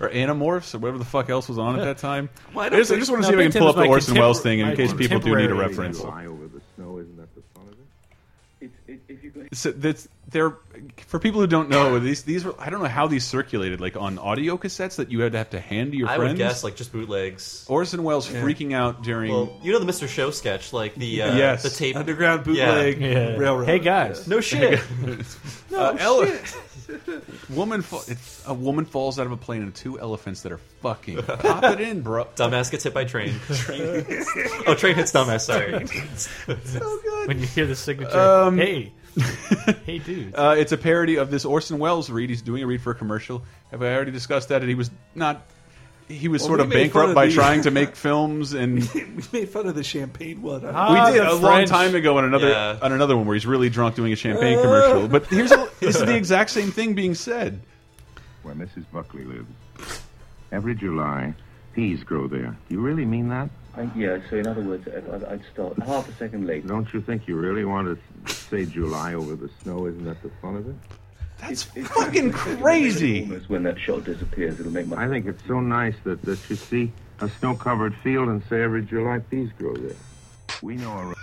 or Animorphs or whatever the fuck else was on at that time.
Well,
I,
I don't
just, I
think-
just want
no,
to see if I
Ben
can pull up
10
the
was my
Orson Welles
contempor-
thing in
my
case people do need a
contemporary
reference.
July over the snow, isn't that the fun of it?
So that's, they're for people who don't know, these these were I don't know how these circulated like on audio cassettes that you had to have to hand to your
I
friends. Oh.
would guess like just bootlegs.
Orson Welles freaking out during.
Well, you know the Mr. Show sketch, like the uh,
Yes.
the tape
Underground
Yeah.
bootleg Yeah. railroad. Hey, guys.
no shit.
No Uh,
Oh,
Ella- woman, fa- it's, a woman falls out of a plane and two elephants that are fucking pop it in, bro.
Dumbass gets hit by train. oh, train hits dumbass. Sorry.
so good.
When you hear the signature,
Um,
hey, hey, dude.
Uh, it's a parody of this Orson Welles read. He's doing a read for a commercial. Have I already discussed that? And he was not. He was
Well,
sort
we
of
made fun
bankrupt
of
by
the-
trying to make films, and
we made fun of the champagne one.
Ah.
we did a long time ago on another
Yeah.
on another one where he's really drunk doing a champagne
Uh.
commercial. But here's a, this is the exact same thing being said.
where Mrs. Buckley lives. Every July, peas grow there. Do you really mean that? yeah, so in other words, I'd, I'd start half a second late. Don't you think you really want to say July over the snow? Isn't that the fun of it?
That's fucking crazy.
Almost when that shot disappears, it'll make my. I think it's so nice that, that you see a snow covered field and say every July peas grow there. We know our.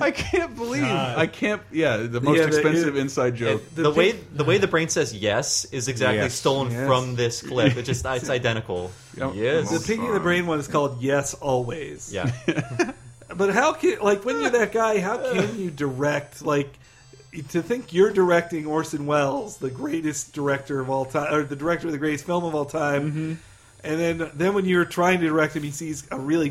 I can't believe I can't. Yeah, the most
Yeah, the-
expensive
it-
inside joke.
The, way the way the brain says yes is exactly
Yes.
stolen
Yes.
from this clip. It just it's identical. Yes.
The piggy in the brain one is called Yes Always.
Yeah.
but how can like when you're that guy? How can you direct like? To think you're directing Orson Welles, the greatest director of all time, or the director of the greatest film of all time,
Mm-hmm.
and then then when you're trying to direct him, he sees a really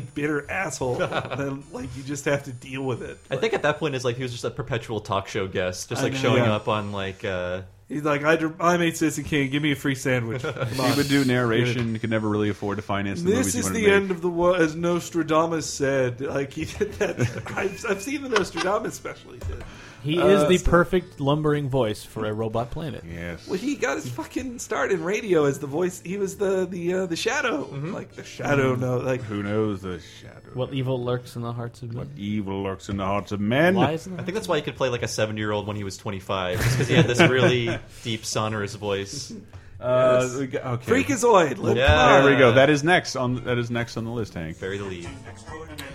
bitter asshole. then like you just have to deal with it.
I think at that point it's like he was just a perpetual talk show guest, just
I
like
know.
showing
Yeah.
up on like uh,
He's like, I, dir- I made Citizen King. Give me a free sandwich. Come
He
on.
would do narration. Could never really afford to finance the movies.
This
he
is
wanted to
the
make.
end of the world, as Nostradamus said. Like he did that. I've, I've seen the Nostradamus special. He did.
He
Uh,
is the
so-
perfect lumbering voice for a robot planet.
Yes.
Well, he got his fucking start in radio as the voice. He was the the uh, the shadow, like the shadow. No, like
who knows the shadow?
What evil lurks in the hearts of men?
Evil lurks in the hearts of men.
I think that's why he could play like a seven year old when he was twenty five, because he had this really deep sonorous voice.
Uh, we got- okay.
Freakazoid. Look,
There we go. That is next on that is next on the list, Hank.
Bury the lead.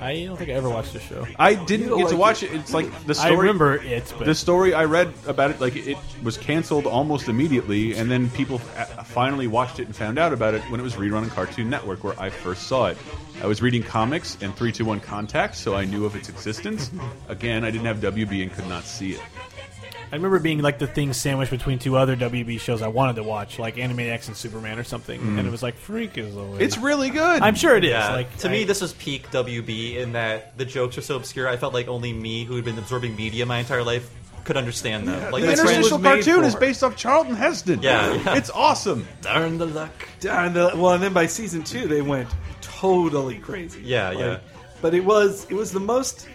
I don't think I ever watched the show.
I didn't
You don't
get to
like
watch
it.
it. It's like the
I
story.
remember it, but-
the story I read about it, like it was canceled almost immediately, and then people a- finally watched it and found out about it when it was rerun on Cartoon Network, where I first saw it. I was reading comics and three two one Contact, so I knew of its existence. Again, I didn't have WB and could not see it.
I remember being like the thing sandwiched between two other WB shows I wanted to watch, like Animaniacs and Superman or something,
Mm.
and it was like Freak is always.
It's
really good.
I'm sure it is.
Yeah.
Like
to
I-
me, this was peak WB in that the jokes are so obscure. I felt like only me, who had been absorbing media my entire life, could understand them. like
the
my friends-
interstitial cartoon is based off Charlton Heston.
Yeah, yeah.
it's awesome.
Darn the luck.
Darn the well, and then by season two they went totally crazy.
Yeah,
Like,
yeah.
But it was it was the most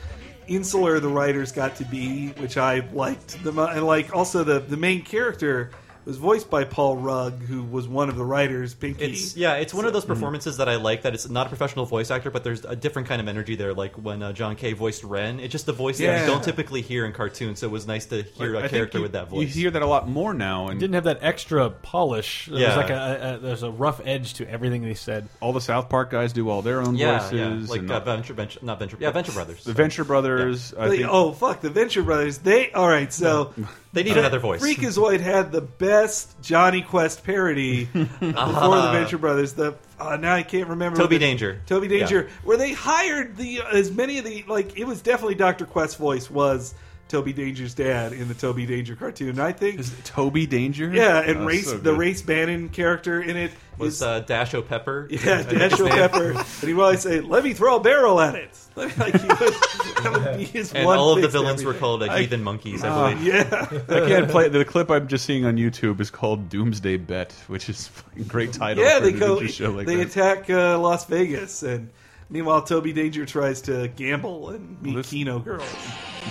insular the writers got to be, which I liked the mo- and like also the the main character was voiced by Paul Rugg, who was one of the writers. Pinky.
It's yeah, it's one of
Mm.
those performances that I like. That it's not a professional voice actor, but there's a different kind of energy there. Like when uh, John Kay voiced Ren, it's just the voice that
Yeah.
you don't typically hear in cartoons. So it was nice to hear
Like, I
a
think
character
you-
with that
You
voice.
hear that a lot more now, and
didn't have that extra polish. There's
Yeah.
like a, a, there's a rough edge to everything they said.
all the South Park guys do all their own
yeah,
voices.
yeah, like
and
uh, Venture, Venture, not Venture, yeah, Venture Brothers.
The Venture Brothers. I
Like,
think,
oh fuck, the Venture Brothers. They all right. So
They need
Fre-
another voice.
Freakazoid had the best Johnny Quest parody before the
Ah.
Venture Brothers. The uh, now I can't remember.
Toby
what the-
Danger.
Toby Danger.
Yeah.
Where they hired the uh, as many of the like it was definitely Doctor Quest's voice was Toby Danger's dad in the Toby Danger cartoon. I think
Toby Danger.
yeah, and
Oh,
race
so
the
good.
race Bannon character in it
was uh, Dash O'Pepper.
yeah, Dashiell Pepper, and he would always say, "Let me throw a barrel at it." Like he would, that would be his
And
one
all of the
fix to
villains were
everything.
called uh,
I-
heathen monkeys, I
Ah.
believe.
Yeah.
I can't play the clip I'm just seeing on YouTube is called Doomsday Bet, which is a fucking great title.
Yeah,
for
they
an
go.
adventure show like
they
that.
attack uh, Las Vegas, and meanwhile, Toby Danger tries to gamble and meet
This-
Kino Girl.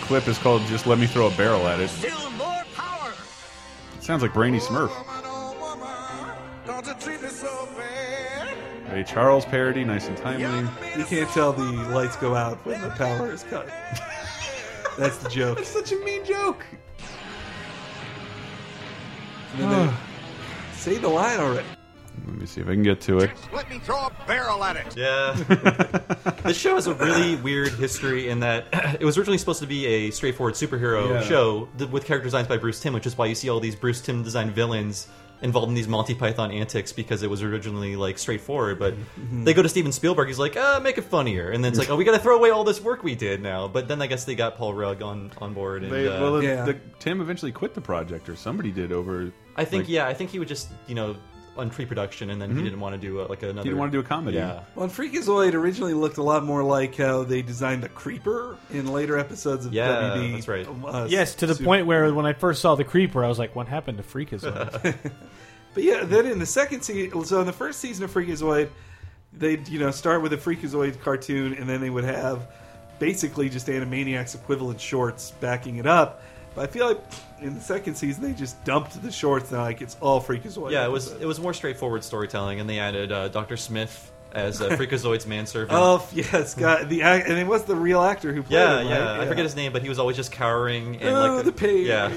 clip is called "Just Let Me Throw a Barrel at It." Sounds like Brainy Smurf.
oh,
A Charles parody, nice and timely.
You can't tell the lights go out when the power is cut. That's the joke. That's
such a mean joke.
And then they- Say the line already.
Let me see if I can get to it.
Let me throw a barrel at it.
Yeah. this show has a really weird history in that it was originally supposed to be a straightforward superhero
Yeah.
show th- with character designs by Bruce Tim, which is why you see all these Bruce Tim designed villains involved in these Monty Python antics because it was originally like straightforward. But
Mhm.
they go to Steven Spielberg, he's like, uh, make it funnier, and then it's like, oh, we got to throw away all this work we did now. But then I guess they got Paul Rugg on on board. And,
They,
uh,
well, the, Tim eventually quit the project, or somebody did over.
I think
like,
yeah, I think he would just you know on pre-production, and then
Mm-hmm.
Mhm.
he didn't want to do uh, like another.
wanna do a comedy.
Yeah.
Well, and Freakazoid originally looked a lot more like how they designed the Creeper in later episodes of
Yeah,
WD.
that's right.
uh,
yes, to the
Super-
point where when I first saw the creeper, I was like, "What happened to Freakazoid?"
But yeah, then in the second season, so in the first season of Freakazoid, they'd you know start with a Freakazoid cartoon, and then they would have basically just Animaniacs equivalent shorts backing it up. But I feel like in the second season they just dumped the shorts, and like it's all
Oh,
Freakazoid.
Yeah, it was it was more straightforward storytelling, and they added uh, Doctor Smith as uh, Freakazoid's manservant.
Oh yes, God, the ac- and it was the real actor who played
yeah,
him, right?
yeah, I forget his name, but he was always just cowering and
oh,
like
the pain.
Yeah,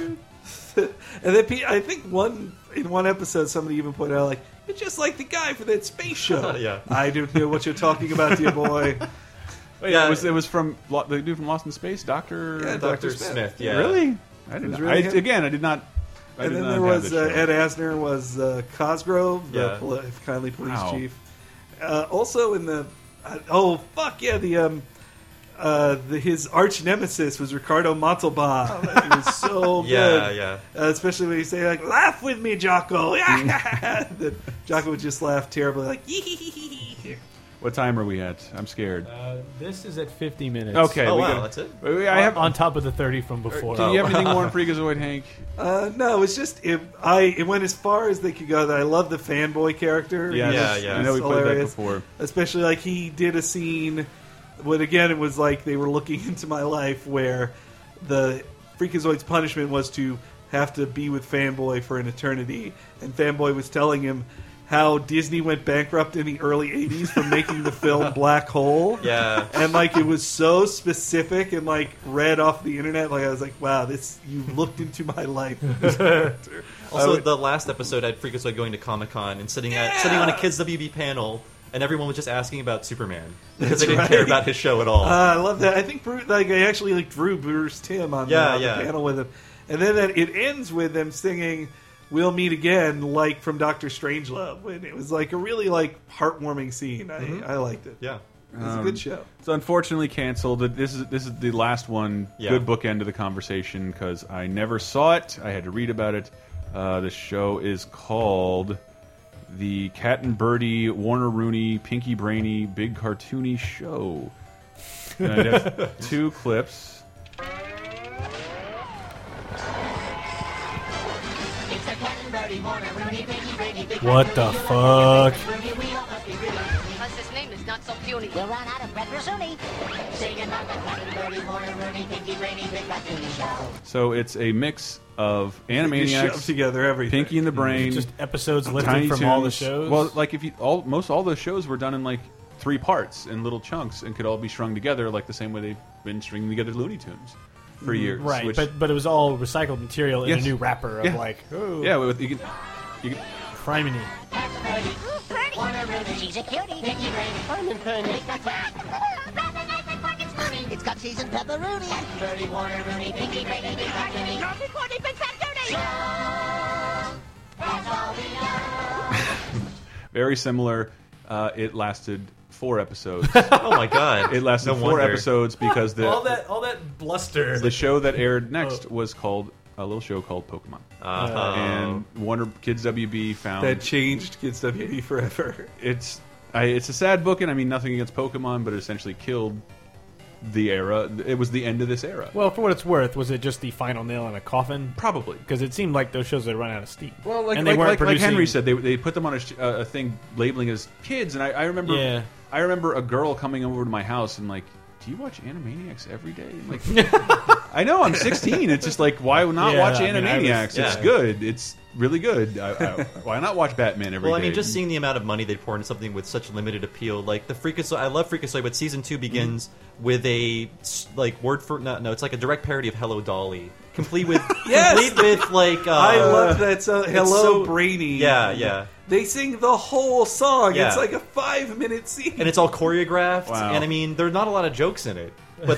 and then Pete, I think one in one episode somebody even pointed out like it's just like the guy for that space show.
Yeah.
I don't know what you're talking about, dear boy.
yeah, it was, it was from Lo- the dude from Lost in Space, Doctor
Yeah, Dr. Smith. yeah.
really? I
It
didn't.
was
know.
really
I-
him.
again, I did not. I
and
did
then
not
there
have
was
this
uh,
show.
Ed Asner was uh, Cosgrove, the
Yeah.
poli- kindly police
Wow.
chief. Uh, also in the uh, oh fuck yeah the um uh the, his arch nemesis was Ricardo Montalban. he was so
Yeah,
good,
yeah.
Uh, especially when he say like laugh with me, Jocko. that Jocko would just laugh terribly like
What time are we at? I'm scared.
Uh, this is at 50 minutes.
Okay, Oh, we wow, gotta- that's it? we- I have-
on top of the 30 from before.
Do you have anything more on Freakazoid, Hank?
Uh, no, it's just it, I. It went as far as they could go. That I love the fanboy character.
Yes. Yeah,
He's-
yeah.
he's
I know we played that
hilarious.
before.
Especially like he did a scene. When again, it was like they were looking into my life, where the Freakazoid's punishment was to have to be with fanboy for an eternity, and fanboy was telling him. How Disney went bankrupt in the early '80s from making the film Black Hole,
Yeah.
and like it was so specific and like read off the internet. Like I was like, wow, this you looked into my life. with this character. I
Also,
would-
the last episode had Freakazoid going to Comic Con and sitting at sitting on a Kids WB panel, and everyone was just asking about Superman because they didn't
That's
care
right.
about his show at all.
Uh, I love that. I think Bru like I actually like drew Bruce Tim on
Yeah,
the, on the
yeah.
panel with him, and then that, it ends with them singing "We'll Meet Again" like from Doctor Strangelove, and it was like a really like heartwarming scene. I,
Mhm.
I liked it.
Yeah,
it was a
Um,
good show.
It's unfortunately canceled. This is this is the last one.
Yeah.
Good bookend to the conversation because I never saw it. I had to read about it. Uh, the show is called the Cat and Birdie Warner Rooney Pinky Brainy Big Cartoony Show. And I have two clips.
It's a cat and birdie morning, Rooney, Pinky, Brainy, Big
What the fuck?
Rooney, we all must be really
Because his name is not so puny.
We'll run out of bread soon.
singing about the cat and birdie morning, Rooney, Pinky, Brainy, Big Raccoon Show.
So it's a mix of
They just
Animaniacs
shoved together everything.
Pinky and the Brain,
Just episodes lifted
Tiny
from all the
Toons.
shows?
Well, like if you all most all those shows were done in like three parts in little chunks and could all be strung together like the same way they've been stringing together Looney Tunes for years.
Mm, right?
which-
but but it was all recycled material in
Yes.
a new wrapper of
Yeah.
like, oh,
yeah, with, you can, you can,
criminy.
Warner Ruby, she's a cutie. Pinky Brainy, Carmen Penny. It's got cheese and pepperoni.
Birdie, Warner, Rooney, Pinky, Brainy, Big Raccoon.
very similar. Uh, it lasted four episodes. oh
my god!
It lasted
No
four
wonder.
episodes because the
all that all that bluster.
the show that aired next
Oh.
was called a little show called Pokemon,
Uh-huh.
and Warner Kids WB found
That changed Kids WB forever.
it's I, it's a sad book, and I mean nothing against Pokemon, but it essentially killed the era. It was the end of this era.
Well, for what it's worth, was it just the final nail in a coffin?
Probably,
because it seemed like those shows had run out of steam.
Well, like,
and they
like,
weren't
like, like
producing.
Henry said, they, they put them on a, sh- uh, a a thing labeling as kids, and I, I remember
Yeah.
I remember a girl coming over to my house and like, do you watch Animaniacs every day? I'm like, I know I'm 16. It's just like, why not
Yeah,
watch
I mean, I was-
Animaniacs? it's
yeah.
good. It's really good. I, I, why not watch Batman every day?
well, I mean, just seeing the amount of money they pour into something with such limited appeal, like the Freakazoid. I love Freakazoid, but season two begins
Mm-hmm.
with a s- like word for no, no, it's like a direct parody of Hello Dolly, complete with
Yes!
complete with like uh,
I love that. So
it's
hello,
so-
Brainy.
Yeah, yeah.
They sing the whole song.
Yeah.
It's like a five minute scene.
and it's all choreographed.
Wow.
And I mean, there's not a lot of jokes in it, but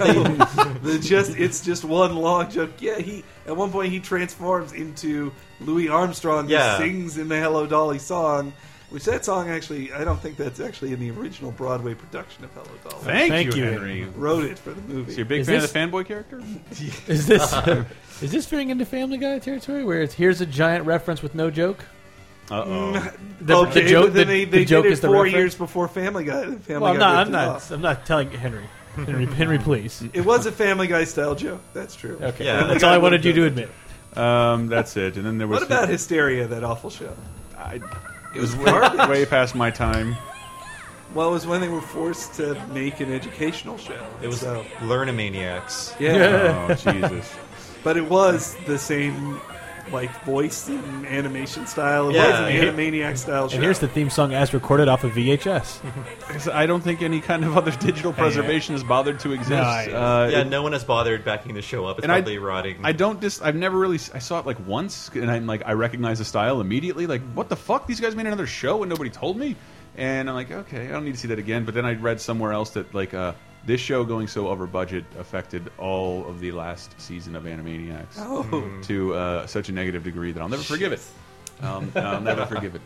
They're just it's just one long joke. Yeah, he at one point he transforms into Louis Armstrong.
Yeah.
who sings in the Hello Dolly song, which that song actually I don't think that's actually in the original Broadway production of Hello Dolly.
Thank Thank you, you, Henry. Henry.
Wrote it for the movie.
So you're a big
Is
fan
this-
of the fanboy character?
Is this is this veering into Family Guy territory where it's here's a giant reference with no joke?
Uh
The,
okay,
the joke,
but then
the-
they,
the
they
joke
did it
is the
four
reference?
years before Family Guy. and Family
well, I'm
Guy
not.
ripped
I'm
it
not.
off.
I'm not telling Henry. Henry, Henry please.
It was a Family Guy style joke. That's true.
Okay,
Family
that's
Guy
all I wanted
would've
you
done
to
that.
admit.
Um, that's it. And then there was
What about Hysteria? That awful show.
I, It was way, way past my time.
Well, it was when they were forced to make an educational show.
It was
so,
Learnamaniacs.
yeah.
Oh, Jesus.
But it was the same like voice and animation style. It was
Yeah.
an Animaniac style show.
And here's the theme song as recorded off of VHS.
I don't think any kind of other digital preservation has bothered to exist. Uh,
yeah,
it-
no one has bothered backing the show up. It's
and I-
probably rotting.
I don't dis. I've never really. s- I saw it like once, and I'm like, I recognize the style immediately. Like, what the fuck? These guys made another show and nobody told me. And I'm like, okay, I don't need to see that again. But then I read somewhere else that like uh, this show going so over budget affected all of the last season of Animaniacs
Oh. Hmm.
to uh, such a negative degree that I'll never forgive it. Um, I'll never forgive it.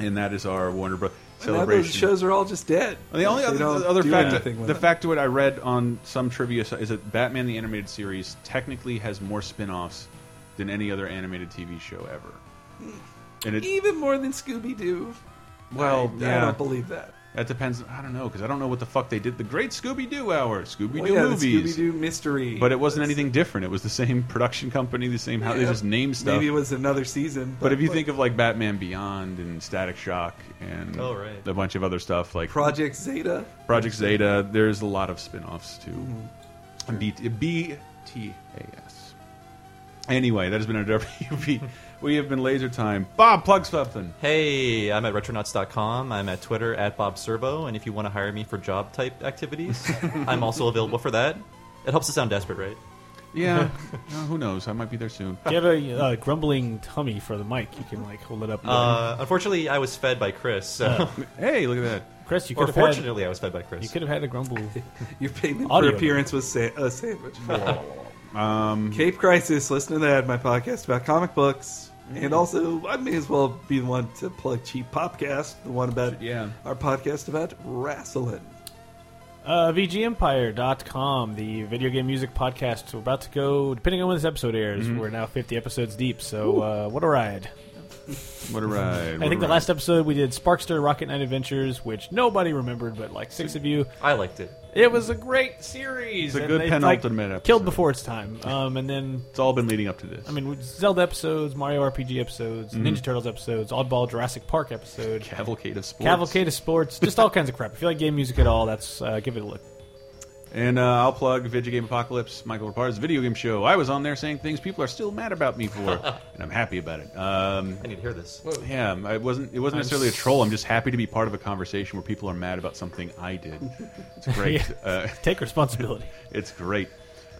And that is our Warner Bros.
And now those
celebration.
shows are all just dead.
Well, The only
They
other,
don't
the other
do
fact,
anything with
the
it.
factoid I read on some trivia si- is that Batman the animated series technically has more spin-offs than any other animated TV show ever. And it,
even more than Scooby Doo.
well,
I,
yeah,
I don't believe that.
That depends. I don't know because I don't know what the fuck they did. The Great Scooby Doo Hour, Scooby Doo
Well, yeah, the
movies,
Scooby-Doo mystery.
But it wasn't anything different. It was the same production company, the same how they
Yeah.
just name stuff.
Maybe it was another season.
But if you think of like Batman Beyond and Static Shock and
Oh, right.
a bunch of other stuff like
Project Zeta.
Project Zeta, there's a lot of spin-offs too.
Mm-hmm.
B B T A S. Anyway, that has been our WP. we have been Laser Time. Bob, plug something.
Hey, I'm at retronauts.com. I'm at Twitter at Bob Servo. And if you want to hire me for job type activities, I'm also available for that. It helps to sound desperate, right?
Yeah, no, who knows? I might be there soon.
Do you have a uh, grumbling tummy for the mic? You can like hold it up. and down.
Uh, unfortunately, I was fed by Chris. So.
Oh.
Hey, look at that.
Chris, you
Or
could have had-
fortunately, I was fed by Chris.
You could have had a grumble.
Your payment
Audio
for appearance was sa- a sandwich.
um,
Cape Crisis. Listen to that, my podcast about comic books. And also, I may as well be the one to plug Cheap Popcast, the one about
yeah.
our podcast about wrestling.
Uh, VGEmpire.com, the video game music podcast. We're about to go, depending on when this episode airs,
Mhm.
we're now 50 episodes deep, so uh, what a ride.
What a ride!
I think the last episode we did Sparkster Rocket Knight Adventures, which nobody remembered, but like six of you.
I liked it.
It was a great
It's
series.
a
and
good
they,
penultimate
like,
episode.
Killed before its time. Um, and then
It's all been leading up to this.
I mean, Zelda episodes, Mario RPG episodes,
Mhm.
Ninja Turtles episodes, Oddball Jurassic Park episode,
Cavalcade of Sports.
Cavalcade of Sports, just all kinds of crap. If you like game music at all, that's uh, give it a look.
And uh, I'll plug Video Game Apocalypse, Michael Rapar's video game show. I was on there saying things people are still mad about me for, and I'm happy about it. Um,
I need to hear this.
Yeah, um, it wasn't. It
I'm
wasn't necessarily a
s-
troll. I'm just happy to be part of a conversation where people are mad about something I did. It's great. Uh,
Yeah. Take responsibility.
It's great.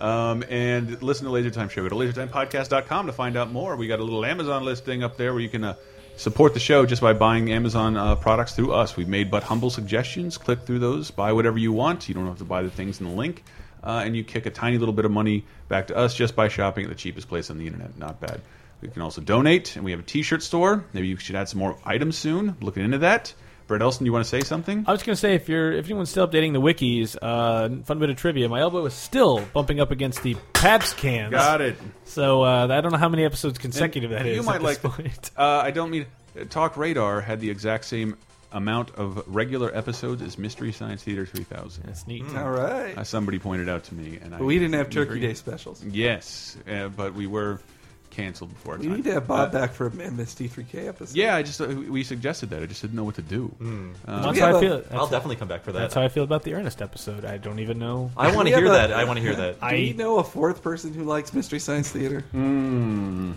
Um, and listen to Laser Time Show. Go to lasertimepodcast.com to find out more. We got a little Amazon listing up there where you can uh, support the show just by buying Amazon uh, products through us. We've made but humble suggestions. Click through those, buy whatever you want. You don't have to buy the things in the link. Uh, and you kick a tiny little bit of money back to us just by shopping at the cheapest place on the internet. Not bad. You can also donate, and we have a t shirt store. Maybe you should add some more items soon. Looking into that. Brett Elson, you want to say something?
I was going to say if you're if anyone's still updating the wikis, uh, fun bit of trivia. My elbow is still bumping up against the Pabs cans.
Got it.
So uh, I don't know how many episodes consecutive
And
that is.
You
at
might
this
like.
point.
Uh, I don't mean Talk Radar had the exact same amount of regular episodes as Mystery Science Theater 3000. That's
neat.
All right.
Uh, somebody pointed out to me, and I
But we didn't have Turkey
agreed.
Day
Mm-hmm.
specials.
Yes, uh, but we were canceled before.
We
time.
need to have Bob
Uh,
back for an MST3K episode.
Yeah, I just uh, we suggested that. I just didn't know what to do.
Hmm.
Uh,
That's how I feel. That's
I'll
how-
definitely come back for that.
That's how I feel about the Ernest episode. I don't even know.
I want
We
to hear
have
that.
a-
I want to hear that.
Do we know a fourth person who likes Mystery Science Theater?
Hmm.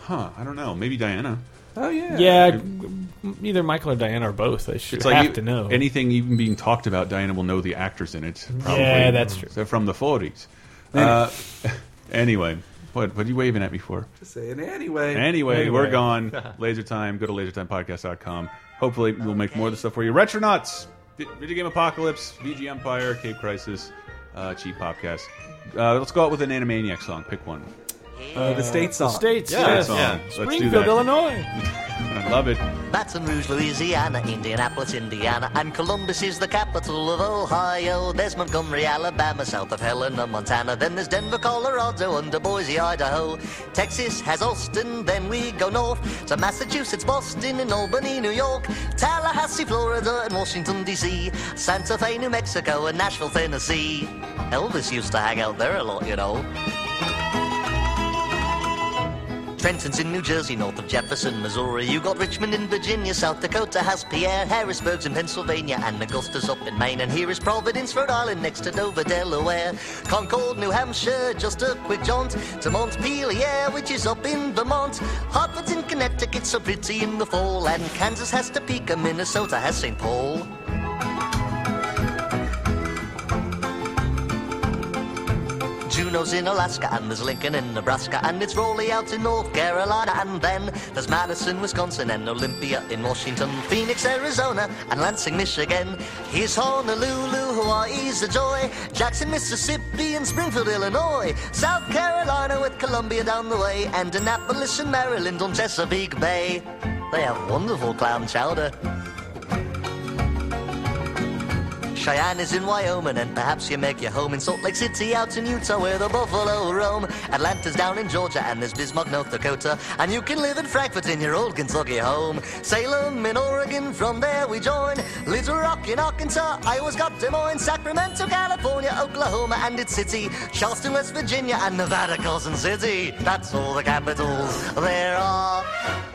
Huh. I don't know. Maybe Diana.
Oh yeah.
Yeah, m- either Michael or Diana or both. I should
It's
have
like you-
to know.
anything even being talked about. Diana will know the actors in it. Probably.
Yeah, that's true.
They're from the forties. Uh, anyway, What? What are you waving at me for?
Just saying anyway.
Anyway, we're gone. Laser time. Go to lasertimepodcast.com. Hopefully, we'll make more of the stuff for you. Retronauts, Vi- Video Game Apocalypse, VG Empire, Cape Crisis, uh, Cheap Popcast. Uh, let's go out with an Animaniac song. Pick one.
Uh, the state song.
States,
State
yes.
song. Let's do
Springfield,
that.
Illinois.
I love it.
Baton Rouge, Louisiana, Indianapolis, Indiana, and Columbus is the capital of Ohio. There's Montgomery, Alabama, south of Helena, Montana. Then there's Denver, Colorado, under Boise, Idaho. Texas has Austin, then we go north to Massachusetts, Boston, and Albany, New York. Tallahassee, Florida, and Washington, D.C. Santa Fe, New Mexico, and Nashville, Tennessee. Elvis used to hang out there a lot, you know. Trenton's in New Jersey, north of Jefferson, Missouri. You got Richmond in Virginia, South Dakota has Pierre, Harrisburg's in Pennsylvania, and Augusta's up in Maine. And here is Providence, Rhode Island, next to Dover, Delaware. Concord, New Hampshire, just a quick jaunt to Montpelier, which is up in Vermont. Hartford's in Connecticut, so pretty in the fall. And Kansas has Topeka, Minnesota has St. Paul. Juneau's in Alaska, and there's Lincoln in Nebraska, and it's Raleigh out in North Carolina, and then there's Madison, Wisconsin, and Olympia in Washington, Phoenix, Arizona, and Lansing, Michigan. Here's Honolulu, Hawaii's a joy, Jackson, Mississippi, and Springfield, Illinois, South Carolina with Columbia down the way, and Annapolis and Maryland on Chesapeake Bay. They have wonderful clam chowder. Cheyenne is in Wyoming, and perhaps you make your home in Salt Lake City, out in Utah, where the buffalo roam. Atlanta's down in Georgia, and there's Bismarck, North Dakota, and you can live in Frankfurt in your old Kentucky home. Salem in Oregon, from there we join. Little Rock in Arkansas, Iowa's got Des Moines, Sacramento, California, Oklahoma, and its city, Charleston, West Virginia, and Nevada, Carson City. That's all the capitals there are.